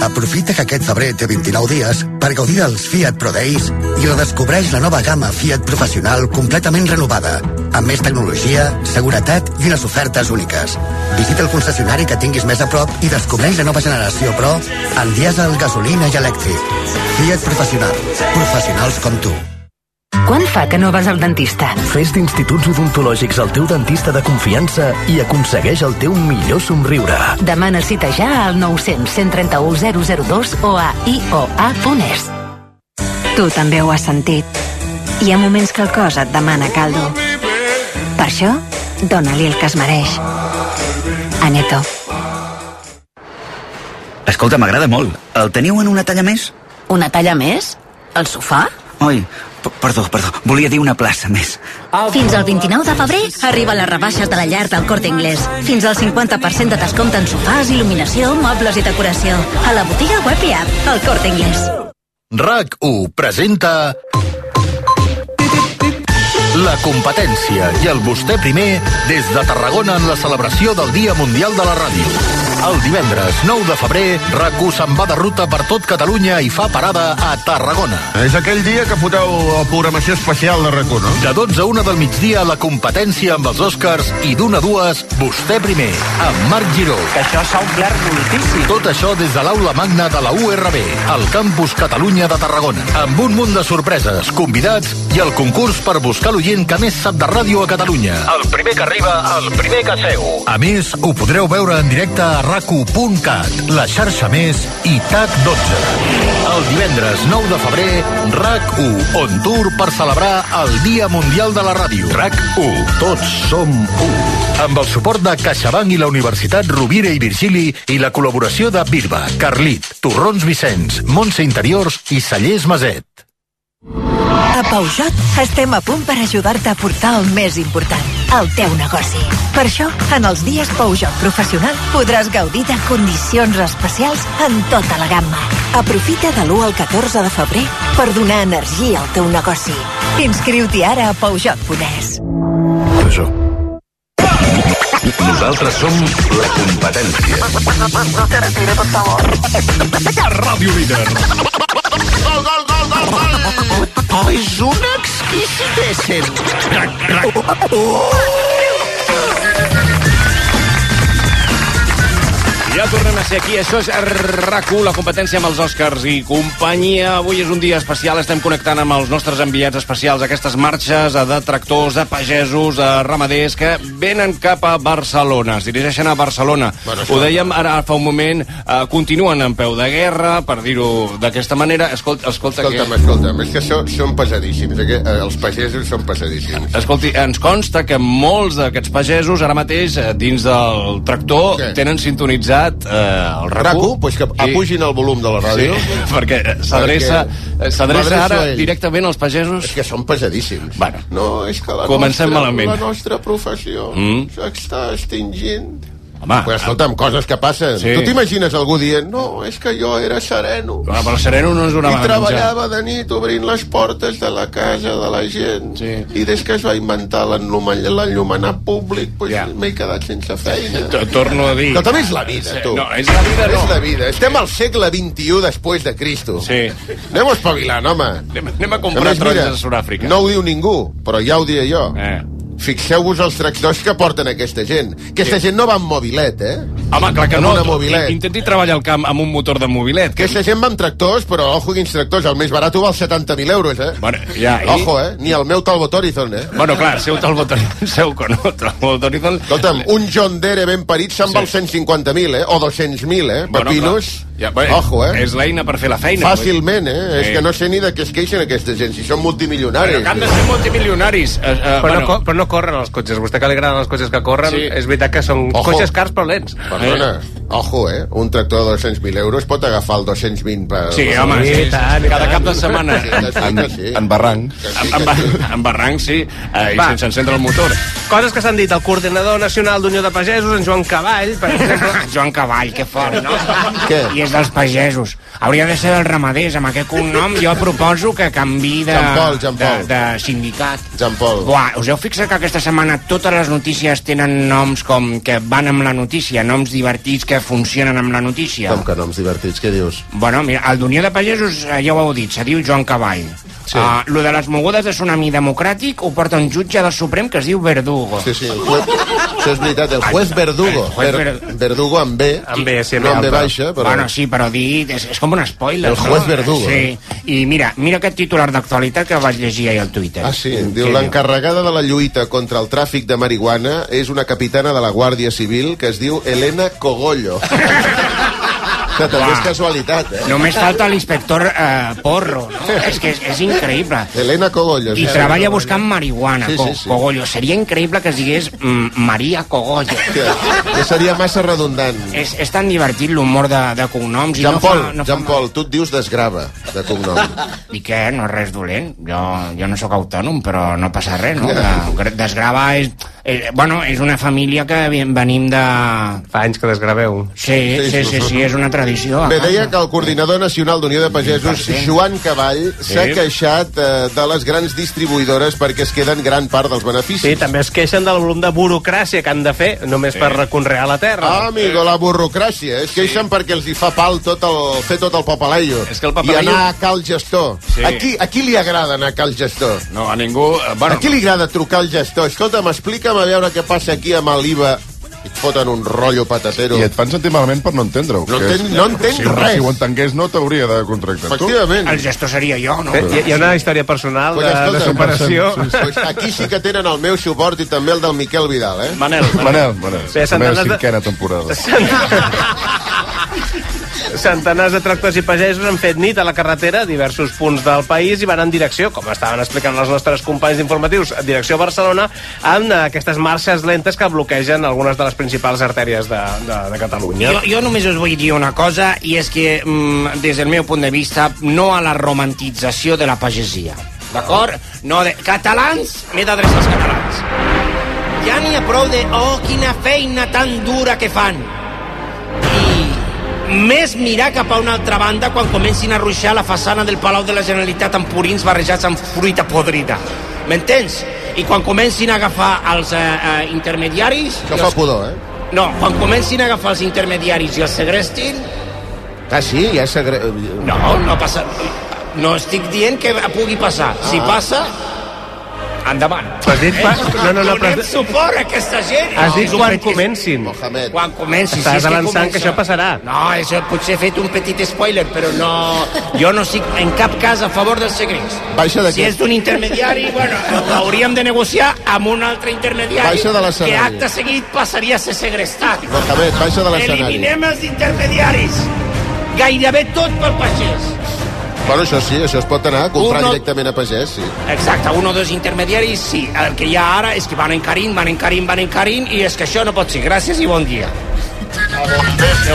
[SPEAKER 18] Aprofita que aquest febrer té 29 dies per gaudir dels Fiat Pro Days i redescobreix la nova gamma Fiat Professional completament renovada, amb més tecnologia, seguretat i unes ofertes úniques. Visita el concessionari que tinguis més a prop i descobreix la nova generació Pro en dièsel, gasolina i elèctric. Fiat Professional. Professionals com tu.
[SPEAKER 19] Quan fa que no vas al dentista?
[SPEAKER 4] Fes d'Instituts Odontològics el teu dentista de confiança i aconsegueix el teu millor somriure.
[SPEAKER 19] Demana cita ja al 900 131 002 o a ioa.es.
[SPEAKER 20] Tu també ho has sentit. Hi ha moments que el cos et demana caldo. Per això, dona-li el que es mereix. Aneto.
[SPEAKER 21] Escolta, m'agrada molt. El teniu en una talla més?
[SPEAKER 22] Una talla més? El sofà?
[SPEAKER 21] Oi, p- perdó, perdó. Volia dir una plaça més.
[SPEAKER 16] Fins al 29 de febrer arriben les rebaixes de la llar del Corte Inglés. Fins al 50% de descompte en sofàs, il·luminació, mobles i decoració. A la botiga web i app, el Corte Inglés.
[SPEAKER 23] RAC1 presenta... La competència i el vostè primer des de Tarragona en la celebració del Dia Mundial de la Ràdio. El divendres 9 de febrer, RAC1 se'n va de ruta per tot Catalunya i fa parada a Tarragona.
[SPEAKER 24] És aquell dia que foteu la programació especial de rac no?
[SPEAKER 23] De 12 a 1 del migdia, la competència amb els Oscars i d'una a dues, vostè primer, amb Marc Giró. Que això s'ha omplert moltíssim. Tot això des de l'aula magna de la URB, al campus Catalunya de Tarragona. Amb un munt de sorpreses, convidats i el concurs per buscar l'oient que més sap de ràdio a Catalunya. El primer que arriba, el primer que seu. A més, ho podreu veure en directe a racu.cat, la xarxa més i TAC12. El divendres 9 de febrer, RAC1 on tour per celebrar el Dia Mundial de la Ràdio. RAC1, tots som u. Amb el suport de CaixaBank i la Universitat Rovira i Virgili i la col·laboració de Birba, Carlit, Torrons Vicenç, Montse Interiors i Sallés Maset.
[SPEAKER 25] A Peugeot estem a punt per ajudar-te a portar el més important, el teu negoci. Per això, en els dies Peugeot Professional podràs gaudir de condicions especials en tota la gamma. Aprofita de l'1 al 14 de febrer per donar energia al teu negoci. Inscriu-t'hi ara a Peugeot.es.
[SPEAKER 23] Això. Nosaltres som la competència.
[SPEAKER 13] Ràdio Líder.
[SPEAKER 26] Gol, gol, gol, gol, gol! Oh, és un exquisit ésser.
[SPEAKER 5] Ja tornem a ser aquí. Això és rac la competència amb els Oscars i companyia. Avui és un dia especial. Estem connectant amb els nostres enviats especials a aquestes marxes de tractors, de pagesos, de ramaders que venen cap a Barcelona. Es dirigeixen a Barcelona.
[SPEAKER 13] Bueno,
[SPEAKER 5] Bueno,
[SPEAKER 13] això-
[SPEAKER 5] Ho dèiem ara fa un moment. Eh, continuen en peu de guerra, per dir-ho d'aquesta manera. Escolta, escolta,
[SPEAKER 3] Escolta'm,
[SPEAKER 5] que...
[SPEAKER 3] escolta'm, és que són, són pesadíssims. Aquest, eh, els pagesos són pesadíssims.
[SPEAKER 5] Escolti, ens consta que molts d'aquests pagesos ara mateix eh, dins del tractor
[SPEAKER 3] Què?
[SPEAKER 5] tenen sintonitzat eh, el RAC1.
[SPEAKER 3] RAC1? Pues que apugin el volum de la ràdio.
[SPEAKER 5] Sí, perquè eh, s'adreça
[SPEAKER 3] Perquè
[SPEAKER 5] eh, s'adreça
[SPEAKER 3] m'adreço
[SPEAKER 5] ara
[SPEAKER 3] a ell.
[SPEAKER 5] directament als pagesos. És
[SPEAKER 3] que són pesadíssims.
[SPEAKER 5] Bueno,
[SPEAKER 3] no, és que la
[SPEAKER 5] comencem
[SPEAKER 3] nostra,
[SPEAKER 5] malament.
[SPEAKER 3] La nostra professió
[SPEAKER 5] Mm.
[SPEAKER 3] mm. està extingint.
[SPEAKER 5] Home,
[SPEAKER 3] pues escolta'm, coses que passen.
[SPEAKER 5] Sí.
[SPEAKER 3] Sí. Tu t'imagines algú dient, no, és que jo era sereno.
[SPEAKER 5] Ah, però sereno no ens donava
[SPEAKER 3] I treballava de nit obrint les portes de la casa de la gent. Sí. I des que es va inventar l'enllumen- l'enllumenat públic, pues ja. m'he quedat sense feina.
[SPEAKER 5] T- torno a dir.
[SPEAKER 3] No, també és la vida,
[SPEAKER 5] Sí,
[SPEAKER 3] tu.
[SPEAKER 5] no, és la vida, no.
[SPEAKER 3] És la vida. Estem al segle XXI després de Cristo. Sí. Anem a espavilant, home.
[SPEAKER 5] Anem, anem a comprar
[SPEAKER 3] A més, mira,
[SPEAKER 5] taronges a Sud-àfrica.
[SPEAKER 3] No ho diu ningú, però ja ho diré jo. Eh. Fixeu-vos els tractors que porten aquesta gent. Aquesta gent no va amb mobilet, eh?
[SPEAKER 5] Home, clar que
[SPEAKER 3] Amb
[SPEAKER 5] no.
[SPEAKER 3] una
[SPEAKER 5] tu
[SPEAKER 3] mobilet.
[SPEAKER 5] Intenti treballar al camp amb un motor de mobilet.
[SPEAKER 3] Aquesta gent va amb tractors, però ojo quins tractors. El més barat val 70.000 euros, eh?
[SPEAKER 5] Bueno, ja, i-
[SPEAKER 3] Ojo, eh? Ni el meu Talbot Horizon, eh?
[SPEAKER 5] Bueno, clar, seu Talbot Horizon, seu con Talbot Horizon...
[SPEAKER 3] Escolta'm, un John Deere ben parit se'n
[SPEAKER 5] Sí.
[SPEAKER 3] val 150.000, eh? O 200.000, eh?
[SPEAKER 5] Bueno,
[SPEAKER 3] Pepinos.
[SPEAKER 5] clar. Ja, bueno,
[SPEAKER 3] Ojo, eh?
[SPEAKER 5] és l'eina per fer la feina.
[SPEAKER 3] Fàcilment, eh?
[SPEAKER 5] Sí.
[SPEAKER 3] És que no sé ni de què es queixen aquesta gent, si són multimilionaris.
[SPEAKER 5] Però que han de ser multimilionaris. Eh, eh,
[SPEAKER 7] Però, no, co- però no corren els cotxes. A vostè que li agraden els cotxes que corren,
[SPEAKER 3] Sí.
[SPEAKER 7] sí. és veritat que són
[SPEAKER 3] Ojo.
[SPEAKER 7] Ojo. cotxes cars però lents.
[SPEAKER 3] Perdona, ojo, eh? Un tractor de 200.000 euros pot agafar el 220 per...
[SPEAKER 5] Sí, home, sí, sí, sí. cada cap de setmana.
[SPEAKER 3] En, en
[SPEAKER 5] barranc. En, ba- en barranc, sí, eh, i
[SPEAKER 7] Va.
[SPEAKER 5] sense encendre el motor.
[SPEAKER 7] Eh, Coses que s'han dit el coordinador nacional d'Unió de Pagesos, en Joan Cavall, per exemple.
[SPEAKER 1] Joan Cavall, que fort, no?
[SPEAKER 3] Què?
[SPEAKER 1] I és dels pagesos. Hauria de ser dels ramaders. Amb aquest cognom jo proposo que canvi de,
[SPEAKER 3] Jean Paul, Jean
[SPEAKER 1] de,
[SPEAKER 3] Paul.
[SPEAKER 1] de sindicat.
[SPEAKER 3] Jean Paul.
[SPEAKER 1] Buà, us heu fixat que aquesta setmana totes les notícies tenen noms com que van amb la notícia, noms divertits que funcionen amb la notícia?
[SPEAKER 3] Com que noms divertits, què dius?
[SPEAKER 1] Bueno, mira, el d'Unió de Pagesos, eh, ja ho heu dit, se diu Joan Cavall. Sí. Uh, lo de les mogudes de tsunami democràtic ho porta un jutge del Suprem que es diu Verdugo.
[SPEAKER 3] Sí, sí, el juez... Això és veritat, el juez Verdugo.
[SPEAKER 1] juez
[SPEAKER 3] Ver, Verdugo amb B.
[SPEAKER 1] Amb B, sí,
[SPEAKER 3] no amb B baixa, però...
[SPEAKER 1] Bueno, sí, però dit... És, és com un spoiler.
[SPEAKER 3] El juez Verdugo.
[SPEAKER 1] Sí. I mira, mira aquest titular d'actualitat que vaig llegir ahir al Twitter.
[SPEAKER 3] Ah, sí, diu, l'encarregada de la lluita contra el tràfic de marihuana és una capitana de la Guàrdia Civil que es diu Elena Cogollo.
[SPEAKER 1] Ah,
[SPEAKER 3] que també és casualitat, eh?
[SPEAKER 1] Només falta l'inspector eh, Porro, no? És que és, és increïble.
[SPEAKER 3] Elena Cogollo.
[SPEAKER 1] I
[SPEAKER 3] sí.
[SPEAKER 1] treballa buscant marihuana,
[SPEAKER 3] Sí,
[SPEAKER 1] co
[SPEAKER 3] sí, sí.
[SPEAKER 1] Cogollo. Seria increïble que es digués mm, Maria Cogollo.
[SPEAKER 3] Que seria massa redundant.
[SPEAKER 1] És, és tan divertit l'humor de, de cognoms. i
[SPEAKER 3] Jean
[SPEAKER 1] no
[SPEAKER 3] Paul,
[SPEAKER 1] fa, Ah. no fa
[SPEAKER 3] Jean Paul, tu et dius desgrava, de cognom.
[SPEAKER 1] I què? No és res dolent. Jo, jo no sóc autònom, però no passa res, no? De, desgrava és, és... Bueno, és una família que vi- venim de...
[SPEAKER 7] Fa anys que desgraveu.
[SPEAKER 1] Sí, sí, sí, sí, sí és una tradició. a
[SPEAKER 3] Bé,
[SPEAKER 1] casa.
[SPEAKER 3] deia que el coordinador nacional d'Unió de Pagesos, Joan Cavall, s'ha
[SPEAKER 7] Sí.
[SPEAKER 3] queixat eh, de les grans distribuïdores perquè es queden gran part dels beneficis.
[SPEAKER 7] Sí, també es queixen del volum de burocràcia que han de fer només sí. per reconrear la terra.
[SPEAKER 3] Ah, amigo, la burocràcia. Es queixen perquè els hi fa pal tot el, fer tot el papalaio. És que el
[SPEAKER 5] papalaio-
[SPEAKER 3] I anar a Cal Gestor.
[SPEAKER 5] Sí.
[SPEAKER 3] A, qui, a qui li agrada anar a Cal Gestor?
[SPEAKER 5] No, a ningú... eh,
[SPEAKER 3] Bueno,
[SPEAKER 5] Bueno,
[SPEAKER 3] a qui li agrada trucar al gestor? Escolta'm, explica'm a veure què passa aquí amb l'IVA. I Et foten un rotllo patatero.
[SPEAKER 9] I et fan sentir malament per no entendre-ho.
[SPEAKER 3] No
[SPEAKER 9] que és-
[SPEAKER 3] entenc- no entenc
[SPEAKER 9] si,
[SPEAKER 3] res.
[SPEAKER 9] Si ho entengués no t'hauria de contractar tu.
[SPEAKER 3] Efectivament.
[SPEAKER 1] El gestor seria jo, no?
[SPEAKER 7] Bé, Hi, hi ha una història personal
[SPEAKER 3] Pues
[SPEAKER 7] de, de
[SPEAKER 3] escolta'm,
[SPEAKER 7] superació.
[SPEAKER 3] Pues aquí sí que tenen el meu suport i també el del Miquel Vidal, eh?
[SPEAKER 5] Manel.
[SPEAKER 9] Manel, Manel.
[SPEAKER 7] Bé,
[SPEAKER 9] la meva
[SPEAKER 7] centenars de-
[SPEAKER 9] cinquena temporada.
[SPEAKER 7] Centenars de tractors i pagesos han fet nit a la carretera a diversos punts del país i van en direcció, com estaven explicant els nostres companys d'informatius, en direcció a Barcelona, amb eh, aquestes marxes lentes que bloquegen algunes de les principals artèries de, de, de Catalunya.
[SPEAKER 1] Jo, jo només us vull dir una cosa, i és que, mm, des del meu punt de vista, no a la romantització de la pagesia. D'acord? No de... Catalans, m'he d'adreçar als catalans. Ja n'hi ha prou de... Oh, quina feina tan dura que fan. I més mirar cap a una altra banda quan comencin a ruixar la façana del Palau de la Generalitat amb purins barrejats amb fruita podrida. M'entens? I quan comencin a agafar els eh, eh, intermediaris...
[SPEAKER 3] Això
[SPEAKER 1] i
[SPEAKER 3] fa
[SPEAKER 1] els-
[SPEAKER 3] pudor, eh?
[SPEAKER 1] no, quan comencin a agafar els intermediaris i els segrestin...
[SPEAKER 3] Ah, sí? Ja segre...
[SPEAKER 1] No, no passa... No estic dient que pugui passar. Si passa, endavant.
[SPEAKER 7] Ah.
[SPEAKER 1] Eh?
[SPEAKER 7] Però has dit pa- no, no, no, però-
[SPEAKER 1] Donem suport a aquesta gent.
[SPEAKER 7] Has dit
[SPEAKER 1] És un
[SPEAKER 7] quan
[SPEAKER 1] petit-
[SPEAKER 7] comencin.
[SPEAKER 1] Quan comenci.
[SPEAKER 7] Estàs
[SPEAKER 1] és que
[SPEAKER 7] avançant que
[SPEAKER 1] comença.
[SPEAKER 7] això passarà.
[SPEAKER 1] No, això potser he fet un petit spoiler, però no... Jo no estic en cap cas a favor dels segrets.
[SPEAKER 3] Baixa d'aquí.
[SPEAKER 1] Si és d'un intermediari, bueno, hauríem de negociar amb un altre intermediari
[SPEAKER 3] Baixa de
[SPEAKER 1] que
[SPEAKER 3] l'escenari.
[SPEAKER 1] acte seguit passaria a ser segrestat.
[SPEAKER 3] Mohamed, baixa de l'escenari.
[SPEAKER 1] Eliminem els intermediaris. Gairebé tot pel pagès.
[SPEAKER 3] Bueno, això sí, això es pot anar a comprar
[SPEAKER 1] Uno-
[SPEAKER 3] directament a pagès, sí.
[SPEAKER 1] Exacte, un o dos intermediaris, sí. El que hi ha ara és que van encarint, van encarint, van encarint, i és que això no pot ser. Gràcies i bon dia.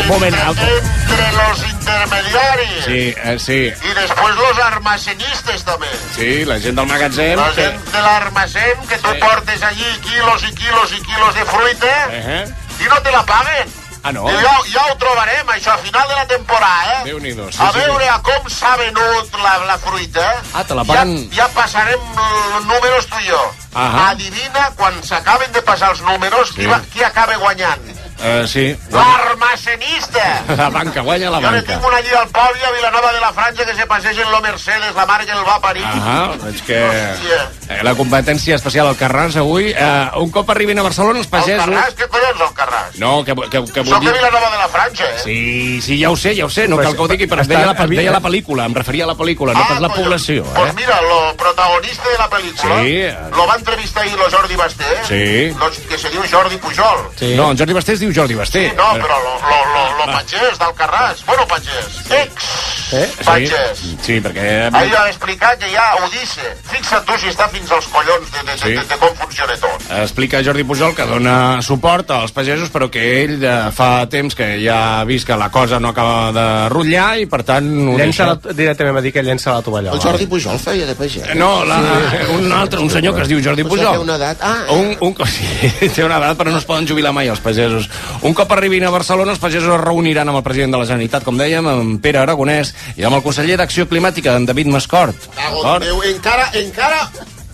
[SPEAKER 1] Un moment,
[SPEAKER 12] Entre los intermediarios.
[SPEAKER 5] sí, eh, sí,
[SPEAKER 12] Y después los armacenistas también.
[SPEAKER 5] sí, la gent del magatzem...
[SPEAKER 12] La
[SPEAKER 5] que-
[SPEAKER 12] gent de l'armacén, que tu portes allí quilos i quilos i quilos de fruita
[SPEAKER 5] Eh, eh.
[SPEAKER 12] i no te la paguen.
[SPEAKER 5] Ah, no?
[SPEAKER 12] Diu, Ja, ja ho trobarem, això, a final de la temporada, eh?
[SPEAKER 5] Déu-n'hi-do, sí,
[SPEAKER 12] a
[SPEAKER 5] sí.
[SPEAKER 12] veure a com s'ha venut la, la fruita. eh?
[SPEAKER 5] Ah, te la paguen...
[SPEAKER 12] Ja, ja passarem els números tu i jo.
[SPEAKER 5] Ahà.
[SPEAKER 12] Adivina, quan s'acaben de passar els números,
[SPEAKER 5] Sí.
[SPEAKER 12] qui, va, qui acaba guanyant.
[SPEAKER 5] Eh, sí.
[SPEAKER 12] L'armacenista!
[SPEAKER 3] pista.
[SPEAKER 5] La banca, guanya la
[SPEAKER 3] Jo ne
[SPEAKER 5] banca.
[SPEAKER 3] tinc una allí al Pòbio, a Vilanova de la Franja, que se passeja en lo Mercedes, la mare que el va parir.
[SPEAKER 5] Ah, veig que eh, la competència especial al Carràs avui, eh, un cop arribin a Barcelona els
[SPEAKER 3] El Carràs,
[SPEAKER 5] pagesos...
[SPEAKER 3] què collons, el Carràs?
[SPEAKER 5] No, que, que, que vull
[SPEAKER 3] Sóc de
[SPEAKER 5] dir...
[SPEAKER 3] Vilanova de la Franja, eh?
[SPEAKER 5] Sí, sí, ja ho sé, ja ho sé, no
[SPEAKER 3] Pues,
[SPEAKER 5] cal que ho digui, però
[SPEAKER 3] està-
[SPEAKER 5] deia la,
[SPEAKER 3] havia-
[SPEAKER 5] deia la pel·lícula, em referia a la pel·lícula, no pas la població, eh?
[SPEAKER 3] Ah, Pues mira, lo protagonista de la pel·lícula
[SPEAKER 5] Sí.
[SPEAKER 3] lo va entrevistar ahir lo Jordi Basté,
[SPEAKER 5] Sí.
[SPEAKER 3] lo, que se diu Jordi Pujol.
[SPEAKER 5] Sí. No, en Jordi Basté es diu Jordi Basté.
[SPEAKER 3] Sí, no, però lo, lo, lo, lo pagès d'Alcarràs. Bueno, pagès. Ex.
[SPEAKER 5] Eh?
[SPEAKER 3] Pagès.
[SPEAKER 5] Sí, sí perquè...
[SPEAKER 3] Ahir va explicar que ja ho dice. Fixa't tu si està fins als collons de, de, de,
[SPEAKER 5] Sí.
[SPEAKER 3] de, de com funciona tot.
[SPEAKER 5] Explica Jordi Pujol que dona suport als pagesos però que ell eh, fa temps que ja ha vist que la cosa no acaba de rutllar i per tant... ho
[SPEAKER 7] Llença
[SPEAKER 5] deixa.
[SPEAKER 7] la, directament va dir que llença la tovallola. Eh,
[SPEAKER 5] El Jordi
[SPEAKER 7] Pujol feia de pagès.
[SPEAKER 5] Eh, No, la, eh, un altre, un senyor que es diu Jordi
[SPEAKER 7] Però això
[SPEAKER 5] Pujol.
[SPEAKER 7] té una
[SPEAKER 5] edat. Ah, un, un, sí, té una edat, però no es poden jubilar mai els pagesos. Un cop arribin a Barcelona, els pagesos es reuniran amb el president de la Generalitat, com dèiem, amb Pere Aragonès, i amb el conseller d'Acció Climàtica, en David Mascort.
[SPEAKER 3] Cago en Déu, encara, encara...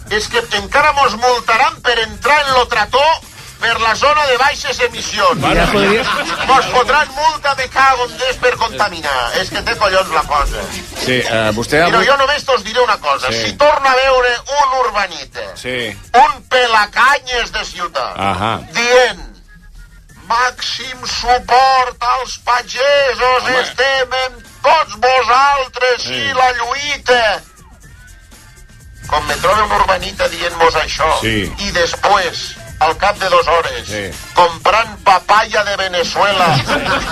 [SPEAKER 3] És que encara mos multaran per entrar en lo trató per la zona de baixes emissions.
[SPEAKER 10] Bueno, ja podria-
[SPEAKER 3] Mos fotran multa de cago en Déu per contaminar. És que té collons la cosa.
[SPEAKER 5] Sí, eh, vostè...
[SPEAKER 3] Mira,
[SPEAKER 5] avui-
[SPEAKER 3] jo només t'os diré una cosa.
[SPEAKER 5] Sí.
[SPEAKER 3] Si torna a veure un urbanita,
[SPEAKER 5] Sí.
[SPEAKER 3] un pelacanyes de ciutat,
[SPEAKER 5] Ahà.
[SPEAKER 3] dient màxim suport als pagesos, Home. estem amb tots vosaltres sí. i la lluita. Com me trobo un urbanita dient-vos això,
[SPEAKER 10] Sí.
[SPEAKER 3] i després, al cap de dues hores, sí. comprant papaya de Venezuela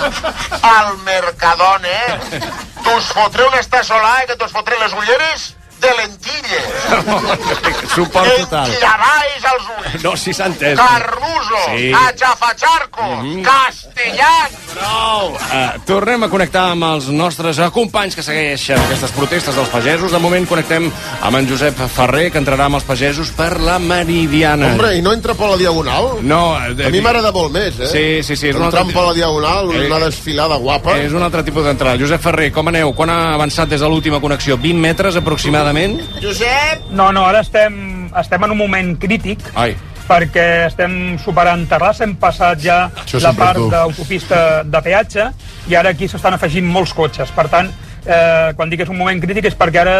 [SPEAKER 3] al Mercadona, t'us fotré una estassolada eh, que t'us fotré les ulleres de lentilles.
[SPEAKER 5] Suport total.
[SPEAKER 3] Enquillaràs els ulls.
[SPEAKER 5] No, si s'ha entès. Mhm.
[SPEAKER 3] Carruso,
[SPEAKER 5] Sí.
[SPEAKER 3] sí. Achafacharco, Castellán.
[SPEAKER 5] Prou! Eh, tornem a connectar amb els nostres eh, companys que segueixen aquestes protestes dels pagesos. De moment connectem amb en Josep Ferrer, que entrarà amb els pagesos per la Meridiana.
[SPEAKER 2] Hombre, i no entra per la diagonal?
[SPEAKER 5] No, eh,
[SPEAKER 2] A mi m'agrada molt més, eh?
[SPEAKER 5] Sí, sí, sí. és un
[SPEAKER 2] Entrant
[SPEAKER 5] altre-
[SPEAKER 2] per la diagonal, una
[SPEAKER 5] Eh,
[SPEAKER 2] desfilada guapa.
[SPEAKER 5] És un altre tipus d'entrada. Josep Ferrer, com aneu? Quan ha avançat des de l'última connexió? 20 metres, aproximadament?
[SPEAKER 3] Josep?
[SPEAKER 11] No, no, ara estem, estem en un moment crític
[SPEAKER 5] Ai,
[SPEAKER 11] perquè estem superant Terrassa, hem passat ja
[SPEAKER 5] Això
[SPEAKER 11] la
[SPEAKER 5] sempre
[SPEAKER 11] part
[SPEAKER 5] tu.
[SPEAKER 11] d'autopista de peatge i ara aquí s'estan afegint molts cotxes. Per tant, eh, quan dic que és un moment crític és perquè ara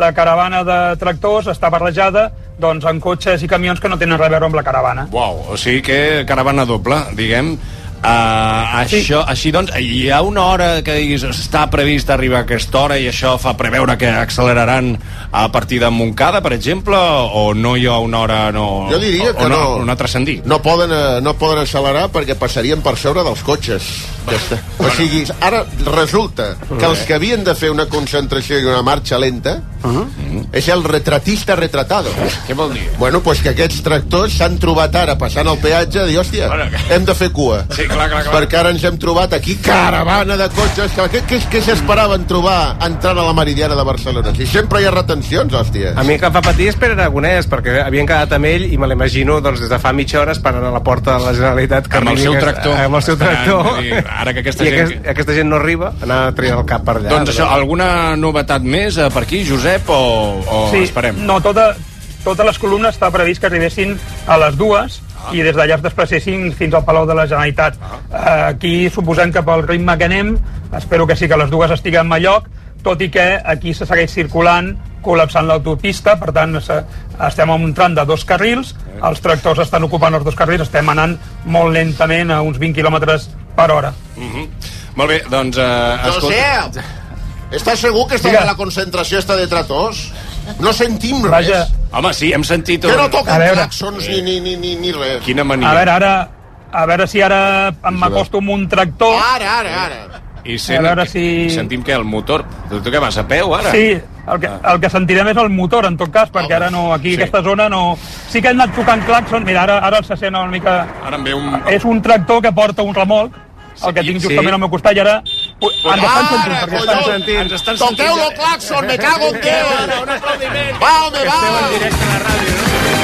[SPEAKER 11] la caravana de tractors està barrejada doncs, amb cotxes i camions que no tenen res a veure amb la caravana.
[SPEAKER 5] Uau, o sigui que caravana doble, diguem. Uh, això, així doncs, hi ha una hora que diguis, està previst arribar a aquesta hora i això fa preveure que acceleraran a partir de Montcada, per exemple, o no hi ha una hora... No,
[SPEAKER 2] Jo diria
[SPEAKER 5] o,
[SPEAKER 2] que
[SPEAKER 5] o no.
[SPEAKER 2] no.
[SPEAKER 5] no ha transcendit.
[SPEAKER 2] No poden, eh, no poden accelerar perquè passarien per sobre dels cotxes. Ja està. O sigui, ara resulta que els que havien de fer una concentració i una marxa lenta és el retratista retratado.
[SPEAKER 5] Mm. Què vol dir?
[SPEAKER 2] Bueno, pues que aquests tractors s'han trobat ara passant el peatge i, hòstia, hem de fer cua.
[SPEAKER 5] Sí, clar, clar, clar.
[SPEAKER 2] Perquè ara ens hem trobat aquí caravana de cotxes. que- Què, què, què s'esperaven trobar entrant a la Meridiana de Barcelona? Si sempre hi ha retencions, hòstia.
[SPEAKER 7] A mi el que em fa patir és Pere Aragonès, perquè havien quedat amb ell i me l'imagino doncs, des de fa mitja hora esperant a la porta de la Generalitat que
[SPEAKER 5] Amb el
[SPEAKER 7] arribi
[SPEAKER 5] seu
[SPEAKER 7] aquest-
[SPEAKER 5] tractor.
[SPEAKER 7] Amb el seu
[SPEAKER 5] Esperant,
[SPEAKER 7] tractor.
[SPEAKER 5] vull dir, ara que aquesta
[SPEAKER 7] I
[SPEAKER 5] gent-
[SPEAKER 7] Aquest, aquesta gent no arriba, anar a triar el cap per allà.
[SPEAKER 5] doncs això, alguna novetat més eh, per aquí, Josep, o, o esperem?
[SPEAKER 11] No, tota, totes les columnes està previst que arribessin a les dues
[SPEAKER 5] Ah.
[SPEAKER 11] i des d'allà es desplacessin fins al Palau de la Generalitat. Ah. Aquí, suposant que pel ritme que anem, espero que sí que les dues estiguem a lloc, tot i que aquí se segueix circulant col·lapsant l'autopista, per tant se- estem en un tram de dos carrils,
[SPEAKER 5] Eh.
[SPEAKER 11] els tractors estan ocupant els dos carrils, estem anant molt lentament a uns 20 km per hora.
[SPEAKER 5] Mhm. Molt bé, doncs... Eh, escolta...
[SPEAKER 2] Josep, ¿estás seguro que esta de la concentració està de tratos? No sentim res.
[SPEAKER 11] Vaja.
[SPEAKER 5] Home, sí, hem sentit...
[SPEAKER 2] Que no toquen
[SPEAKER 11] A veure.
[SPEAKER 2] claxons ni, ni, ni, ni, ni res.
[SPEAKER 5] Quina
[SPEAKER 11] A veure, ara... A veure si ara em m'acosto amb un tractor...
[SPEAKER 2] Ara, ara, ara.
[SPEAKER 5] I sent,
[SPEAKER 11] A veure
[SPEAKER 5] si... sentim que el motor... Tu, tu què vas, a peu, ara?
[SPEAKER 11] Sí, el que, el que sentirem és el motor, en tot cas, perquè ara no, aquí,
[SPEAKER 5] Oh, Sí.
[SPEAKER 11] sí. aquesta zona, no... Sí que han anat tocant claxon, mira, ara, ara se sent una mica...
[SPEAKER 5] Ara em ve un...
[SPEAKER 11] És un tractor que porta un remolc, el que tinc justament al meu costat, i ara... Ui, Ens estan sentint, perquè estan sentint.
[SPEAKER 5] Ens estan
[SPEAKER 2] Toqueu lo claxon, me cago en Déu. Va, home, va.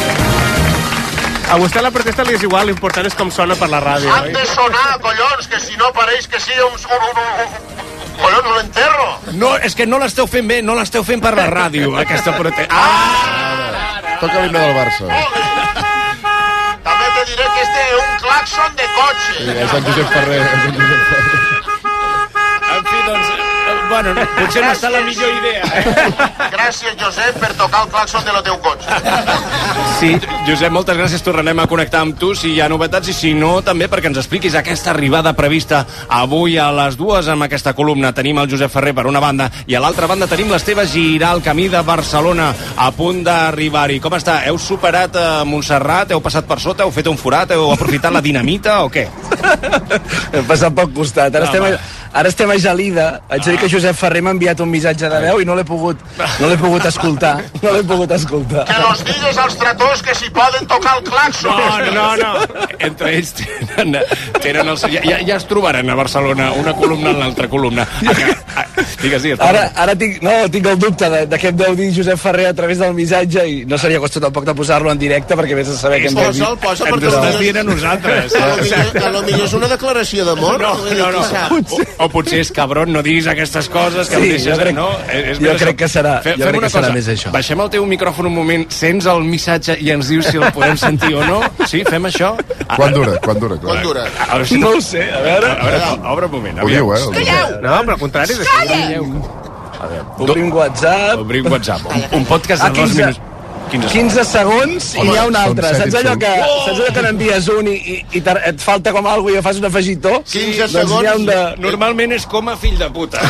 [SPEAKER 7] A vostè la protesta li és igual, l'important és com sona per la ràdio,
[SPEAKER 13] Ah,
[SPEAKER 3] Han
[SPEAKER 13] eh.
[SPEAKER 7] oi?
[SPEAKER 3] de sonar, collons, que si no pareix que sigui un... un, un, un, un collons, un enterro.
[SPEAKER 5] No, és que no l'esteu fent bé, no l'esteu fent per la ràdio, aquesta protesta. Ah!
[SPEAKER 2] Toca l'himne del Barça.
[SPEAKER 3] També te diré que este és un claxon de cotxe.
[SPEAKER 2] és en Josep Ferrer. És en Josep Ferrer.
[SPEAKER 11] doncs, eh, bueno, no, potser no està la millor idea. eh?
[SPEAKER 10] Gràcies, Josep, per tocar el claxon de lo teu cotxe.
[SPEAKER 5] Sí. Josep, moltes gràcies. Tornarem a connectar amb tu si hi ha novetats i si no, també perquè ens expliquis aquesta arribada prevista avui a les dues amb aquesta columna. Tenim el Josep Ferrer per una banda i a l'altra banda tenim l'Esteve Girà al camí de Barcelona a punt d'arribar-hi. Com està? Heu superat eh, Montserrat? Heu passat per sota? Heu fet un forat? Heu aprofitat la dinamita o què?
[SPEAKER 13] Hem passat pel costat. Ara,
[SPEAKER 5] Ah,
[SPEAKER 13] estem,
[SPEAKER 5] va.
[SPEAKER 13] a, ara estem a Gelida. Haig de dir que Josep Ferrer m'ha enviat un missatge de veu i no l'he pogut, no l'he pogut escoltar. No l'he pogut escoltar.
[SPEAKER 10] Que los digues als trators que si poden tocar el claxon.
[SPEAKER 5] No, no, no. Entre ells tenen, tenen els, ja, ja, ja es trobaran a Barcelona una columna en l'altra columna. Ah, que- ah, Digues, digues. perdó.
[SPEAKER 13] Ara, ara tinc, no, tinc el dubte de, de què em deu dir Josep Ferrer a través del missatge i no seria qüestió tampoc de posar-lo en directe perquè vés a saber què em deu dir.
[SPEAKER 3] Posa'l, posa'l,
[SPEAKER 13] Ens
[SPEAKER 3] perquè
[SPEAKER 13] estàs
[SPEAKER 3] potser-
[SPEAKER 13] dient a nosaltres.
[SPEAKER 3] A lo millor- A lo millor és una declaració d'amor.
[SPEAKER 5] No,
[SPEAKER 3] Vull dir,
[SPEAKER 5] no, no.
[SPEAKER 3] qui sap?
[SPEAKER 5] O, o potser és cabron, no diguis aquestes coses que
[SPEAKER 13] Sí,
[SPEAKER 5] em deixes...
[SPEAKER 13] jo crec-
[SPEAKER 5] no? Eh, És,
[SPEAKER 13] jo
[SPEAKER 5] més
[SPEAKER 13] crec que serà-
[SPEAKER 5] Fe-
[SPEAKER 13] jo
[SPEAKER 5] fem
[SPEAKER 13] crec
[SPEAKER 5] una
[SPEAKER 13] que serà
[SPEAKER 5] cosa.
[SPEAKER 13] més això.
[SPEAKER 5] Baixem el teu micròfon un moment, sents el missatge i ens dius si el podem sentir o no. Sí, fem això?
[SPEAKER 27] Quan dura? Quan dura?
[SPEAKER 5] Quan dura?
[SPEAKER 13] No ho sé, a veure...
[SPEAKER 5] A veure, obre un moment.
[SPEAKER 27] Ho diu, eh?
[SPEAKER 5] aviam.
[SPEAKER 27] Ho diu.
[SPEAKER 13] No, però al contrari...
[SPEAKER 5] Calleu!
[SPEAKER 13] Obrim WhatsApp...
[SPEAKER 5] Obrim WhatsApp. Un, un podcast
[SPEAKER 13] Ah,
[SPEAKER 5] de dos
[SPEAKER 13] 15.
[SPEAKER 5] minuts. 15 segons.
[SPEAKER 13] 15 segons i
[SPEAKER 5] Home,
[SPEAKER 13] hi ha un
[SPEAKER 5] són
[SPEAKER 13] altre.
[SPEAKER 5] set Oh!
[SPEAKER 13] Saps allò que,
[SPEAKER 5] insults.
[SPEAKER 13] saps allò que n'envies un i, i, i te- et falta com alguna cosa i fas un afegitó? Doncs n'hi ha un de...
[SPEAKER 5] Normalment és com a fill de puta.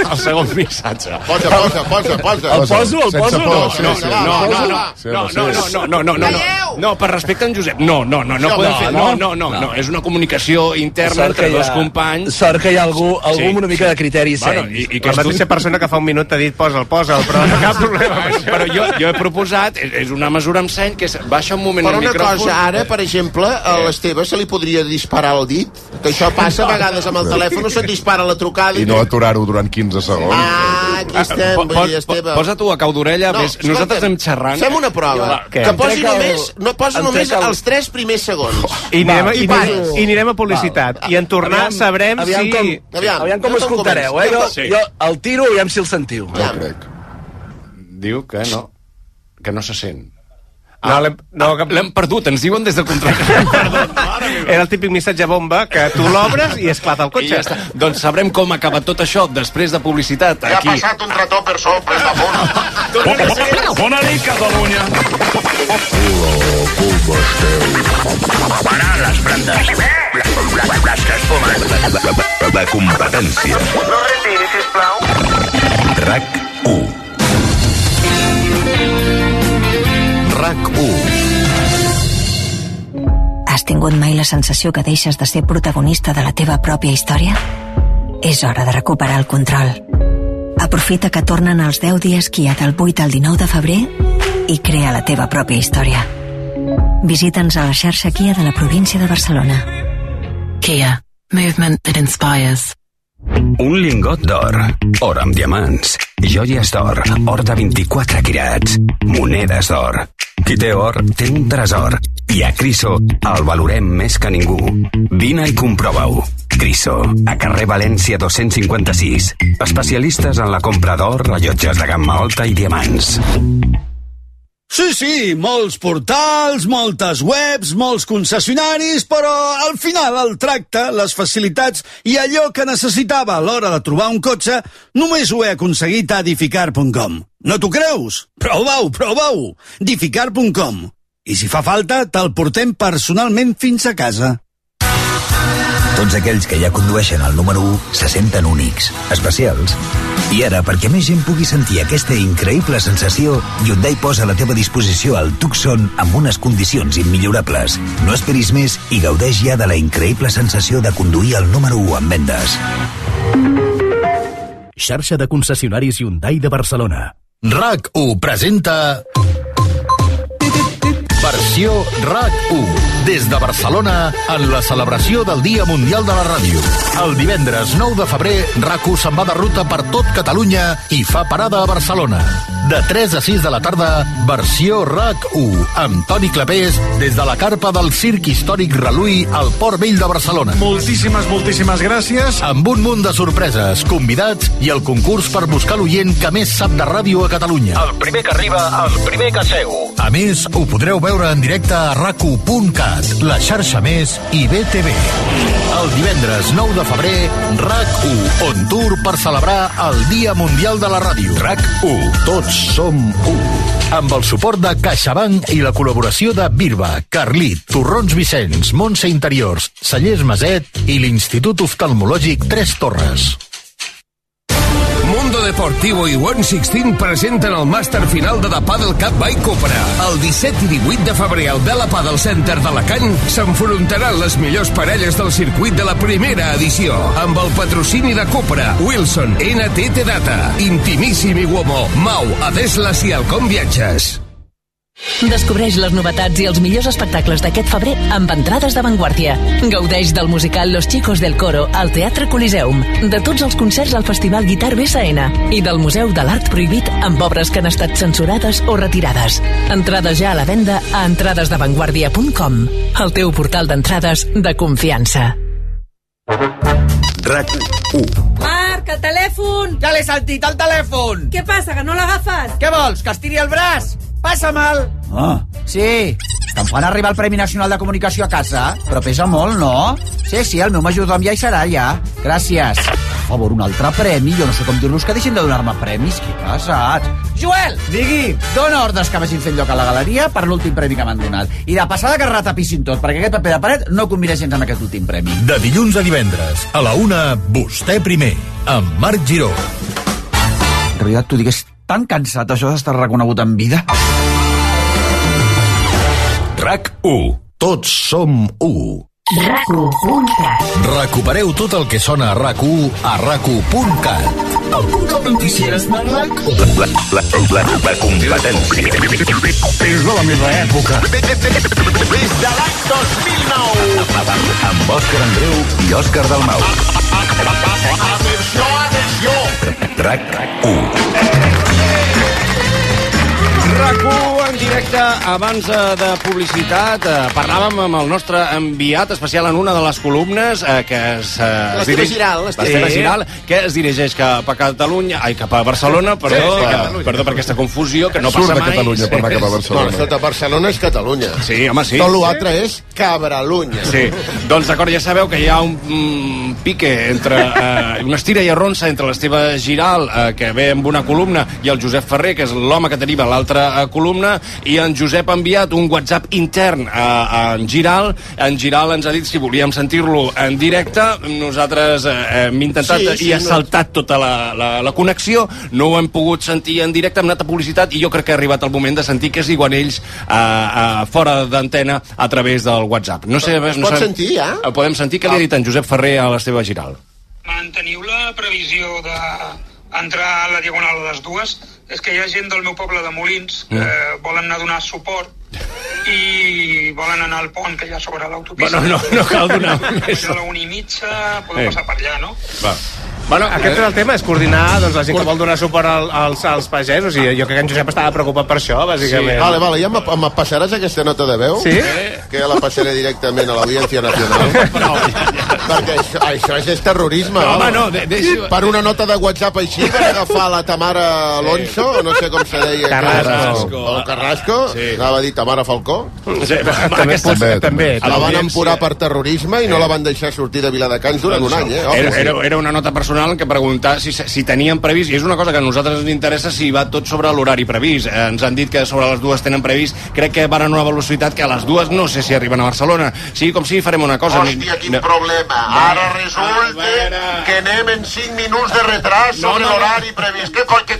[SPEAKER 5] el segon missatge.
[SPEAKER 3] Posa, posa, posa, posa.
[SPEAKER 5] El poso, el poso?
[SPEAKER 3] No, no,
[SPEAKER 5] no, no, no, no, no, no, no, no, no, no, no, per respecte a en Josep, no, no, no, no,
[SPEAKER 13] No,
[SPEAKER 5] podem
[SPEAKER 13] no,
[SPEAKER 5] fer, no,
[SPEAKER 13] no.
[SPEAKER 5] no, no, no, és una comunicació interna
[SPEAKER 13] Sort que
[SPEAKER 5] entre
[SPEAKER 13] hi ha-
[SPEAKER 5] dos companys.
[SPEAKER 13] Sort que hi ha algú, algú amb una mica de criteri i
[SPEAKER 5] Bueno,
[SPEAKER 13] seny.
[SPEAKER 5] i, i
[SPEAKER 13] La
[SPEAKER 5] que
[SPEAKER 13] mateixa
[SPEAKER 5] persona que fa un minut t'ha dit posa'l, posa'l, però no cap problema. però jo, jo he proposat, és, és una mesura amb seny, que és baixa un moment
[SPEAKER 3] Per
[SPEAKER 5] el
[SPEAKER 3] una
[SPEAKER 5] micròfon.
[SPEAKER 3] cosa, ara, per exemple, a l'Esteve se li podria disparar el dit, que això passa a vegades amb el telèfon, se't dispara la trucada
[SPEAKER 27] I no aturar-ho durant 15 segons.
[SPEAKER 3] Ah, aquí estem,
[SPEAKER 5] Eh, po-
[SPEAKER 3] vull dir,
[SPEAKER 5] po-
[SPEAKER 3] Esteve.
[SPEAKER 5] posa tu a cau d'orella,
[SPEAKER 3] No,
[SPEAKER 5] no, nosaltres
[SPEAKER 3] escolta'm,
[SPEAKER 5] estem xerrant.
[SPEAKER 3] Fem una prova.
[SPEAKER 5] Va, què?
[SPEAKER 3] Que posi
[SPEAKER 5] Em trec el-
[SPEAKER 3] només, no posa
[SPEAKER 5] em
[SPEAKER 3] només
[SPEAKER 5] trec el-
[SPEAKER 3] els tres primers segons.
[SPEAKER 7] I anirem,
[SPEAKER 3] Va,
[SPEAKER 7] i,
[SPEAKER 3] pares.
[SPEAKER 7] anirem, i anirem a publicitat. I en tornar
[SPEAKER 13] Aviam,
[SPEAKER 7] sabrem
[SPEAKER 13] aviam
[SPEAKER 7] si...
[SPEAKER 13] Com, aviam, aviam com ho escoltareu, eh? Jo,
[SPEAKER 7] Sí.
[SPEAKER 13] jo el tiro i aviam si el sentiu.
[SPEAKER 27] No crec.
[SPEAKER 5] Diu que no, que no se sent. Ah, no, l'hem no, que... perdut, ens diuen des del contracte.
[SPEAKER 7] Era el típic missatge bomba que tu l'obres i esclata el
[SPEAKER 5] I ja
[SPEAKER 7] cotxe.
[SPEAKER 5] està. Doncs sabrem com acaba tot això després de publicitat
[SPEAKER 7] ha
[SPEAKER 5] aquí.
[SPEAKER 7] passat
[SPEAKER 10] Un trató per sobre, la bona.
[SPEAKER 28] Bona nit, Catalunya.
[SPEAKER 29] Parar les brandes. Les que es fumen.
[SPEAKER 30] La, la, la competència. RAC1. RAC1.
[SPEAKER 25] Has tingut mai la sensació que deixes de ser protagonista de la teva pròpia història? És hora de recuperar el control. Aprofita que tornen els 10 dies Kia del 8 al 19 de febrer i crea la teva pròpia història. Visita'ns a la xarxa Kia de la província de Barcelona.
[SPEAKER 31] Kia. Movement that inspires.
[SPEAKER 2] Un lingot d'or, or amb diamants, joies d'or, or de 24 quirats, monedes d'or. Qui té or té un tresor i a Criso el valorem més que ningú. Vine i comprova-ho. Criso, a carrer València 256. Especialistes en la compra d'or, rellotges de gamma alta i diamants.
[SPEAKER 4] Sí, sí, molts portals, moltes webs, molts concessionaris, però al final el tracte, les facilitats i allò que necessitava a l'hora de trobar un cotxe, només ho he aconseguit a edificar.com. No t'ho creus? Prova-ho, prova-ho! edificar.com. I si fa falta, te'l portem personalment fins a casa.
[SPEAKER 18] Tots aquells que ja condueixen el número 1 se senten únics, especials. I ara, perquè més gent pugui sentir aquesta increïble sensació, Hyundai posa a la teva disposició el Tucson amb unes condicions immillorables. No esperis més i gaudeix ja de la increïble sensació de conduir el número 1 en vendes.
[SPEAKER 32] Xarxa de concessionaris Hyundai de Barcelona.
[SPEAKER 23] RAC1 presenta... Versió RAC1. Des de Barcelona, en la celebració del Dia Mundial de la Ràdio. El divendres 9 de febrer, RAC1 se'n va de ruta per tot Catalunya i fa parada a Barcelona. de 3 a 6 de la tarda, versió RAC1, amb Toni Clapés des de la carpa del Circ Històric Reluí al Port Vell de Barcelona.
[SPEAKER 33] Moltíssimes, moltíssimes gràcies.
[SPEAKER 23] Amb un munt de sorpreses, convidats i el concurs per buscar l'oient que més sap de ràdio a Catalunya.
[SPEAKER 2] El primer que arriba, el primer que seu.
[SPEAKER 23] A més, ho podreu veure en directe a rac1.cat, la xarxa més i BTV. El divendres 9 de febrer, RAC1, on tour per celebrar el Dia Mundial de la Ràdio. RAC1, tots som u. Amb el suport de CaixaBank i la col·laboració de Birba, Carlit, Torrons Vicenç, Montse Interiors, Sallés Maset i l'Institut Oftalmològic Tres Torres.
[SPEAKER 34] Mundo Deportivo i 116 presenten el màster final de la Padel Cup by Cupra. El 17 i 18 de febrer al Bela Padel Center d'Alacant s'enfrontaran les millors parelles del circuit de la primera edició amb el patrocini de Cupra, Wilson, NTT Data, Intimíssim i Uomo, Mau, Adeslas i Alcom Viatges.
[SPEAKER 31] Descobreix les novetats i els millors espectacles d'aquest febrer amb entrades d'avantguàrdia. Gaudeix del musical Los Chicos del Coro al Teatre Coliseum, de tots els concerts al Festival Guitar BSN i del Museu de l'Art Prohibit amb obres que han estat censurades o retirades. Entrades ja a la venda a entradesdavantguardia.com, el teu portal d'entrades de confiança.
[SPEAKER 4] RAC 1.
[SPEAKER 35] Marc, el telèfon! Ja l'he sentit, el telèfon! Què passa, que no l'agafes? Què vols, que estiri el braç? Passa mal!
[SPEAKER 4] Ah. Sí, em fan arribar el Premi Nacional de Comunicació a casa, però pesa molt, no? Sí, sí, el meu majordom ja hi serà, ja. Gràcies. Per favor, un altre premi? Jo no sé com dir-los que deixin de donar-me premis. Què passat? Joel! Digui! Dóna ordres que vagin fent lloc a la galeria per l'últim premi que m'han donat. I de passada que retapissin tot, perquè aquest paper de paret no combina gens amb aquest últim premi.
[SPEAKER 23] De dilluns a divendres, a la una, vostè primer, amb Marc Giró.
[SPEAKER 4] En realitat, tu digues tan cansat això d'estar reconegut en vida.
[SPEAKER 23] RAC 1. Tots som u. Recupereu tot el que sona a RAC1 a RAC1.cat.
[SPEAKER 4] El punt de notícies de RAC.
[SPEAKER 23] La, la, la, la, la competència. És de la meva època.
[SPEAKER 4] Des de l'any 2009.
[SPEAKER 23] Amb Òscar Andreu i Òscar Dalmau.
[SPEAKER 4] Atenció, atenció.
[SPEAKER 23] RAC1.
[SPEAKER 5] rac en directe, abans eh, de publicitat, eh, parlàvem amb el nostre enviat especial en una de les columnes eh, que es, eh, es
[SPEAKER 36] L'Esteve Giral, l'Esteve.
[SPEAKER 5] l'Esteve
[SPEAKER 36] Sí.
[SPEAKER 5] Giral, que es dirigeix cap a Catalunya, ai, cap a Barcelona, perdó,
[SPEAKER 3] Sí, sí,
[SPEAKER 5] eh,
[SPEAKER 3] Catalunya.
[SPEAKER 5] perdó per aquesta confusió que no
[SPEAKER 3] Surt
[SPEAKER 5] passa
[SPEAKER 3] de
[SPEAKER 5] mai.
[SPEAKER 3] Catalunya per anar cap a Barcelona.
[SPEAKER 5] Sí.
[SPEAKER 3] No, sota Barcelona és Catalunya.
[SPEAKER 5] Sí, home, sí.
[SPEAKER 3] Tot l'altre és Cabralunya.
[SPEAKER 5] Sí, doncs d'acord, ja sabeu que hi ha un mm, pique entre... Eh, una estira i arronsa entre l'Esteve Giral, eh, que ve amb una columna, i el Josep Ferrer, que és l'home que deriva l'altra eh, columna, i en Josep ha enviat un WhatsApp intern a, a en Giral. En Giral ens ha dit si volíem sentir-lo en directe. Nosaltres eh, hem intentat
[SPEAKER 36] Sí,
[SPEAKER 5] sí,
[SPEAKER 36] sí,
[SPEAKER 5] sí, i ha
[SPEAKER 36] no-
[SPEAKER 5] saltat tota la, la, la connexió. No ho hem pogut sentir en directe, hem anat a publicitat, i jo crec que ha arribat el moment de sentir que és igual ells eh, eh, fora d'antena a través del WhatsApp. No sé,
[SPEAKER 3] Es
[SPEAKER 5] no
[SPEAKER 3] pot
[SPEAKER 5] sé-
[SPEAKER 3] sentir, ja?
[SPEAKER 5] Eh, Podem sentir que li ha dit en Josep Ferrer a l'Esteve Giral.
[SPEAKER 11] Manteniu la previsió d'entrar a la Diagonal a les dues. És que hi ha gent del meu poble de Molins que mm. volen anar a donar suport i volen anar al pont que hi ha sobre l'autopista.
[SPEAKER 5] Bueno, no- no cal donar
[SPEAKER 11] més. A la una i mitja podeu
[SPEAKER 7] Eh.
[SPEAKER 11] passar per allà, no?
[SPEAKER 5] Va. eh,
[SPEAKER 7] Bueno, aquest és el tema, és coordinar doncs, la gent que vol donar suport al, als, als pagesos. I jo crec que en Josep estava preocupat per això, bàsicament.
[SPEAKER 3] Vale, vale, ja me, me passaràs aquesta nota de veu?
[SPEAKER 7] Sí?
[SPEAKER 3] Que ja la passaré directament a l'Audiència Nacional. Perquè això, això és, és terrorisme.
[SPEAKER 5] No, home, no, de- deixi-
[SPEAKER 3] Per una nota de WhatsApp així, per agafar la Tamara Alonso, o no sé com se deia.
[SPEAKER 5] Carrasco.
[SPEAKER 3] O Carrasco, sí. anava a dir Tamara Falcó.
[SPEAKER 5] Sí, també,
[SPEAKER 3] Aquesta-
[SPEAKER 5] pot- també.
[SPEAKER 3] La van
[SPEAKER 5] L'audiència.
[SPEAKER 3] emporar per terrorisme i no la van deixar sortir de Viladecans durant un any, eh? Ojo.
[SPEAKER 5] Era, era, era una nota personal que preguntava si, si tenien previst, i és una cosa que a nosaltres ens interessa si va tot sobre l'horari previst. Eh, Ens han dit que sobre les dues tenen previst, crec que van a una velocitat que a les dues no sé si arriben a Barcelona. Sí, com si farem una cosa.
[SPEAKER 37] Hòstia,
[SPEAKER 5] quin no.
[SPEAKER 37] problema. Ara resulta que anem en 5 minuts de retras
[SPEAKER 5] No,
[SPEAKER 37] sobre
[SPEAKER 5] no, no.
[SPEAKER 37] l'horari previst. Que, que, que,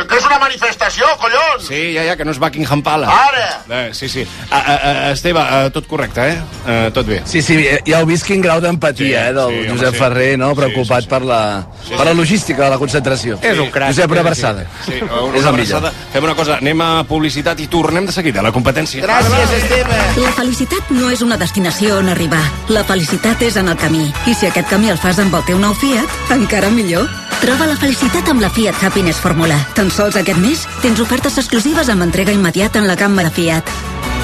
[SPEAKER 37] que, que és una manifestació, collons!
[SPEAKER 5] Sí, ja, ja, que no és Buckingham Palace.
[SPEAKER 37] Ara!
[SPEAKER 5] Eh, sí, sí. Ah, ah, ah, Esteve, ah, tot correcte, eh? eh tot bé.
[SPEAKER 13] Sí, sí, eh, ja heu vist quin grau d'empatia,
[SPEAKER 5] Sí,
[SPEAKER 13] eh, del
[SPEAKER 5] sí, home,
[SPEAKER 13] Josep
[SPEAKER 5] sí.
[SPEAKER 13] Ferrer, no?, preocupat per la, per la logística de la concentració.
[SPEAKER 5] És un crac.
[SPEAKER 13] Josep, una abraçada.
[SPEAKER 5] Sí, sí,
[SPEAKER 13] És
[SPEAKER 5] una, una
[SPEAKER 13] el millor.
[SPEAKER 5] abraçada. Fem una cosa, anem a publicitat i tornem de seguida a la competència.
[SPEAKER 36] Gràcies, Esteve.
[SPEAKER 16] La felicitat no és una destinació on arribar. La felicitat és en el camí. I si aquest camí el fas amb el teu nou Fiat, encara millor.
[SPEAKER 38] Troba la felicitat amb la Fiat Happiness Fórmula. Tan sols aquest mes tens ofertes exclusives amb entrega immediata en la gamma de Fiat.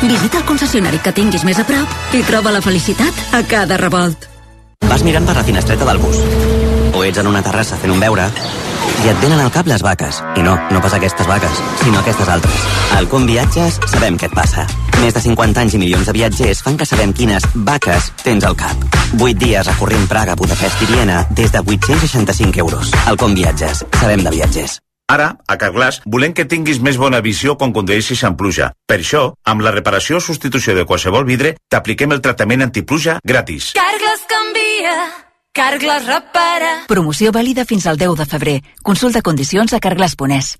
[SPEAKER 38] Visita el concessionari que tinguis més a prop i troba la felicitat a cada revolt.
[SPEAKER 18] Vas mirant per la finestreta del bus. O ets en una terrassa fent un beure i et venen al cap les vaques. I no, no pas aquestes vaques, sinó aquestes altres. Al Com Viatges sabem què et passa. Més de 50 anys i milions de viatgers fan que sabem quines vaques tens al cap. 8 dies recorrent Praga, Budapest i Viena des de 865 euros. Al Com Viatges sabem de viatgers.
[SPEAKER 39] Ara, a Carglass, volem que tinguis més bona visió quan condueixis amb pluja. Per això, amb la reparació o substitució de qualsevol vidre, t'apliquem el tractament antipluja gratis.
[SPEAKER 10] Cargles canvia, Cargles repara.
[SPEAKER 31] Promoció vàlida fins al 10 de febrer. Consulta condicions a carglass.es.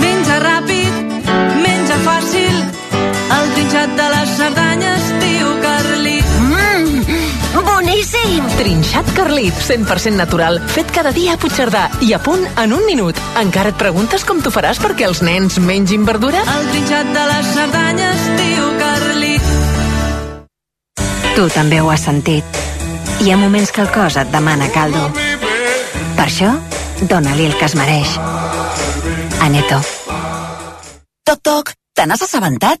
[SPEAKER 10] Menja ràpid, menja fàcil, el trinxat de les Cerdanyes, tio Carlit.
[SPEAKER 31] Mmm, boníssim! Trinxat Carlit, 100% natural, fet cada dia a Puigcerdà i a punt en un minut. Encara et preguntes com t'ho faràs perquè els nens mengin verdura?
[SPEAKER 10] El trinxat de les Cerdanyes, tio Carlit.
[SPEAKER 40] Tu també ho has sentit. Hi ha moments que el cos et demana caldo. Per això, dóna-li el que es mereix. Aneto.
[SPEAKER 16] Toc, toc, te n'has assabentat?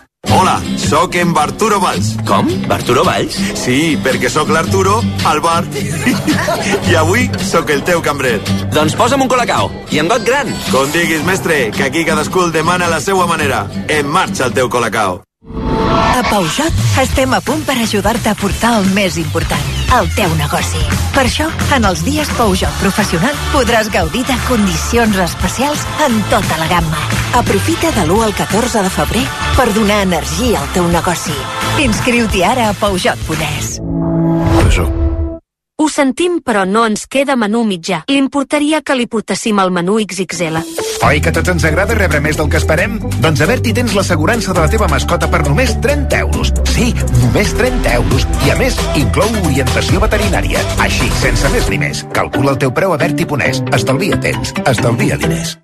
[SPEAKER 2] Hola, sóc en Barturo Valls. Com? Barturo Valls? Sí, perquè sóc l'Arturo al bar. I avui sóc el teu cambrer. Doncs posa'm un colacao i amb got gran. Com diguis, mestre, que aquí cadascú el demana a la seva manera. En marxa el teu colacao.
[SPEAKER 25] A Peugeot estem a punt per ajudar-te a portar el més important, el teu negoci. Per això, en els dies Peugeot Professional podràs gaudir de condicions especials en tota la gamma.
[SPEAKER 38] Aprofita de l'1 al 14 de febrer per donar energia al teu negoci.
[SPEAKER 25] Inscriu-t'hi ara a Peugeot Pones.
[SPEAKER 41] Ho sentim, però no ens queda menú mitjà. Li importaria que li portéssim el menú XXL.
[SPEAKER 42] Oi que a tots ens agrada rebre més del que esperem? Doncs a Berti tens l'assegurança de la teva mascota per només 30 euros. Sí, només 30 euros. I a més, inclou orientació veterinària. Així, sense més ni més. Calcula el teu preu a Berti Ponès. Estalvia temps, estalvia diners.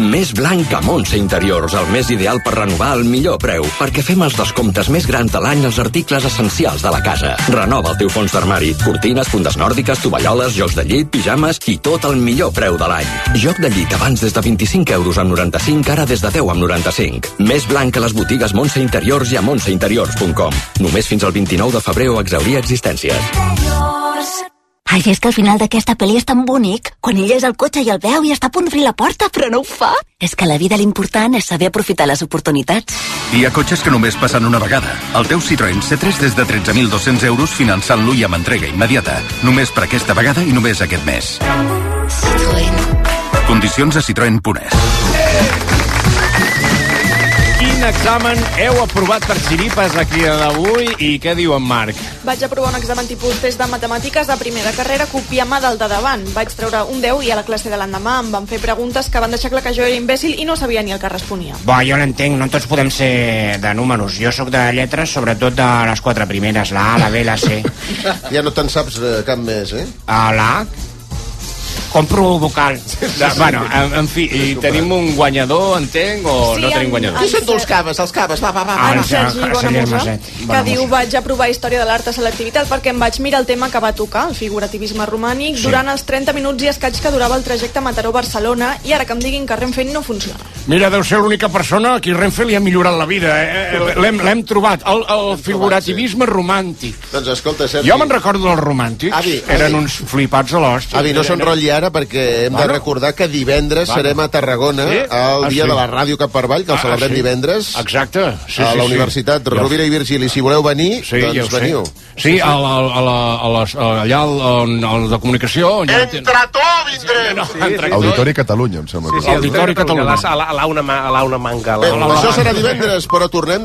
[SPEAKER 19] Més blanc que Montse Interiors, el més ideal per renovar al millor preu, perquè fem els descomptes més grans de l'any als articles essencials de la casa. Renova el teu fons d'armari, cortines, fundes nòrdiques, tovalloles, jocs de llit, pijames i tot el millor preu de l'any. Joc de llit abans des de 25 euros amb 95, ara des de 10 amb 95. Més blanc que les botigues Montse Interiors i a montseinteriors.com. Només fins al 29 de febrer o exaurir existències.
[SPEAKER 43] Ai, és que al final d'aquesta pel·li és tan bonic. Quan ell és al cotxe i el veu i està a punt d'obrir la porta, però no ho fa. És que a la vida l'important és saber aprofitar les oportunitats.
[SPEAKER 23] Hi ha cotxes que només passen una vegada. El teu Citroën C3 des de 13.200 euros finançant-lo i amb entrega immediata. Només per aquesta vegada i només aquest mes. Citroën. Condicions a Citroën Punès.
[SPEAKER 5] Quin examen heu aprovat per xiripes aquí d'avui i què diu en Marc?
[SPEAKER 44] Vaig aprovar un examen tipus test de matemàtiques de primera carrera copiant-me del de davant. Vaig treure un 10 i a la classe de l'endemà em van fer preguntes que van deixar clar que jo era imbècil i no sabia ni el que responia.
[SPEAKER 1] Bo, jo l'entenc, no tots podem ser de números. Jo sóc de lletres, sobretot de les quatre primeres, la A, la B, la C.
[SPEAKER 3] Ja no te'n saps eh, cap més, eh?
[SPEAKER 1] A la A, compro vocal.
[SPEAKER 5] De, bueno, en, en fi, i tenim un guanyador, entenc, o
[SPEAKER 44] Sí,
[SPEAKER 5] Oh, no tenim
[SPEAKER 44] en-
[SPEAKER 5] guanyador?
[SPEAKER 44] en-
[SPEAKER 5] Sí,
[SPEAKER 44] són tu, els
[SPEAKER 3] caves, els caves? Va, va, va.
[SPEAKER 5] Ah,
[SPEAKER 44] va,
[SPEAKER 5] en Sergi
[SPEAKER 44] Sergi
[SPEAKER 3] Ah,
[SPEAKER 5] Bonamusa.
[SPEAKER 44] Bonamusa, que diu vaig aprovar Història de l'Art a selectivitat perquè em vaig mirar el tema que va tocar, el figurativisme romànic,
[SPEAKER 1] Sí.
[SPEAKER 44] durant els 30 minuts i escaig que durava el trajecte Mataró-Barcelona i ara que em diguin que Renfe no funciona.
[SPEAKER 5] Mira, deu ser l'única persona a qui Renfe li ha millorat la vida. Eh? Eh, L'hem l'hem trobat, el, el figurativisme romàntic.
[SPEAKER 3] Doncs escolta, Sergi...
[SPEAKER 5] Jo me'n recordo dels romàntics.
[SPEAKER 3] Avi,
[SPEAKER 5] Eren
[SPEAKER 3] avi.
[SPEAKER 5] uns flipats a l'hòstia.
[SPEAKER 3] Avi, no s'enrotlli ara perquè hem
[SPEAKER 5] Bueno.
[SPEAKER 3] de recordar que divendres
[SPEAKER 5] Bueno.
[SPEAKER 3] serem a Tarragona
[SPEAKER 5] Sí?
[SPEAKER 3] el
[SPEAKER 5] Ah,
[SPEAKER 3] dia
[SPEAKER 5] sí.
[SPEAKER 3] de la ràdio cap per avall, que el
[SPEAKER 5] Ah,
[SPEAKER 3] celebrem
[SPEAKER 5] sí.
[SPEAKER 3] divendres.
[SPEAKER 5] Exacte. Sí,
[SPEAKER 3] a
[SPEAKER 5] sí,
[SPEAKER 3] la
[SPEAKER 5] sí.
[SPEAKER 3] Universitat
[SPEAKER 5] Ja ho
[SPEAKER 3] Rovira i Virgili. Si voleu venir,
[SPEAKER 5] Sí, ja ho
[SPEAKER 3] doncs
[SPEAKER 5] sé.
[SPEAKER 3] veniu.
[SPEAKER 5] Sí, a la, a la, a les, a allà al- on, al de comunicació... On ja Entre
[SPEAKER 44] tu vindrem!
[SPEAKER 5] Sí, no, entre
[SPEAKER 45] Auditori Catalunya, em sembla.
[SPEAKER 5] Sí, sí,
[SPEAKER 45] que és.
[SPEAKER 5] Auditori Catalunya.
[SPEAKER 46] A la, a la una, ma- a la una manga. A la,
[SPEAKER 45] Bé,
[SPEAKER 46] a la,
[SPEAKER 45] això
[SPEAKER 3] Això serà divendres, però tornem demà.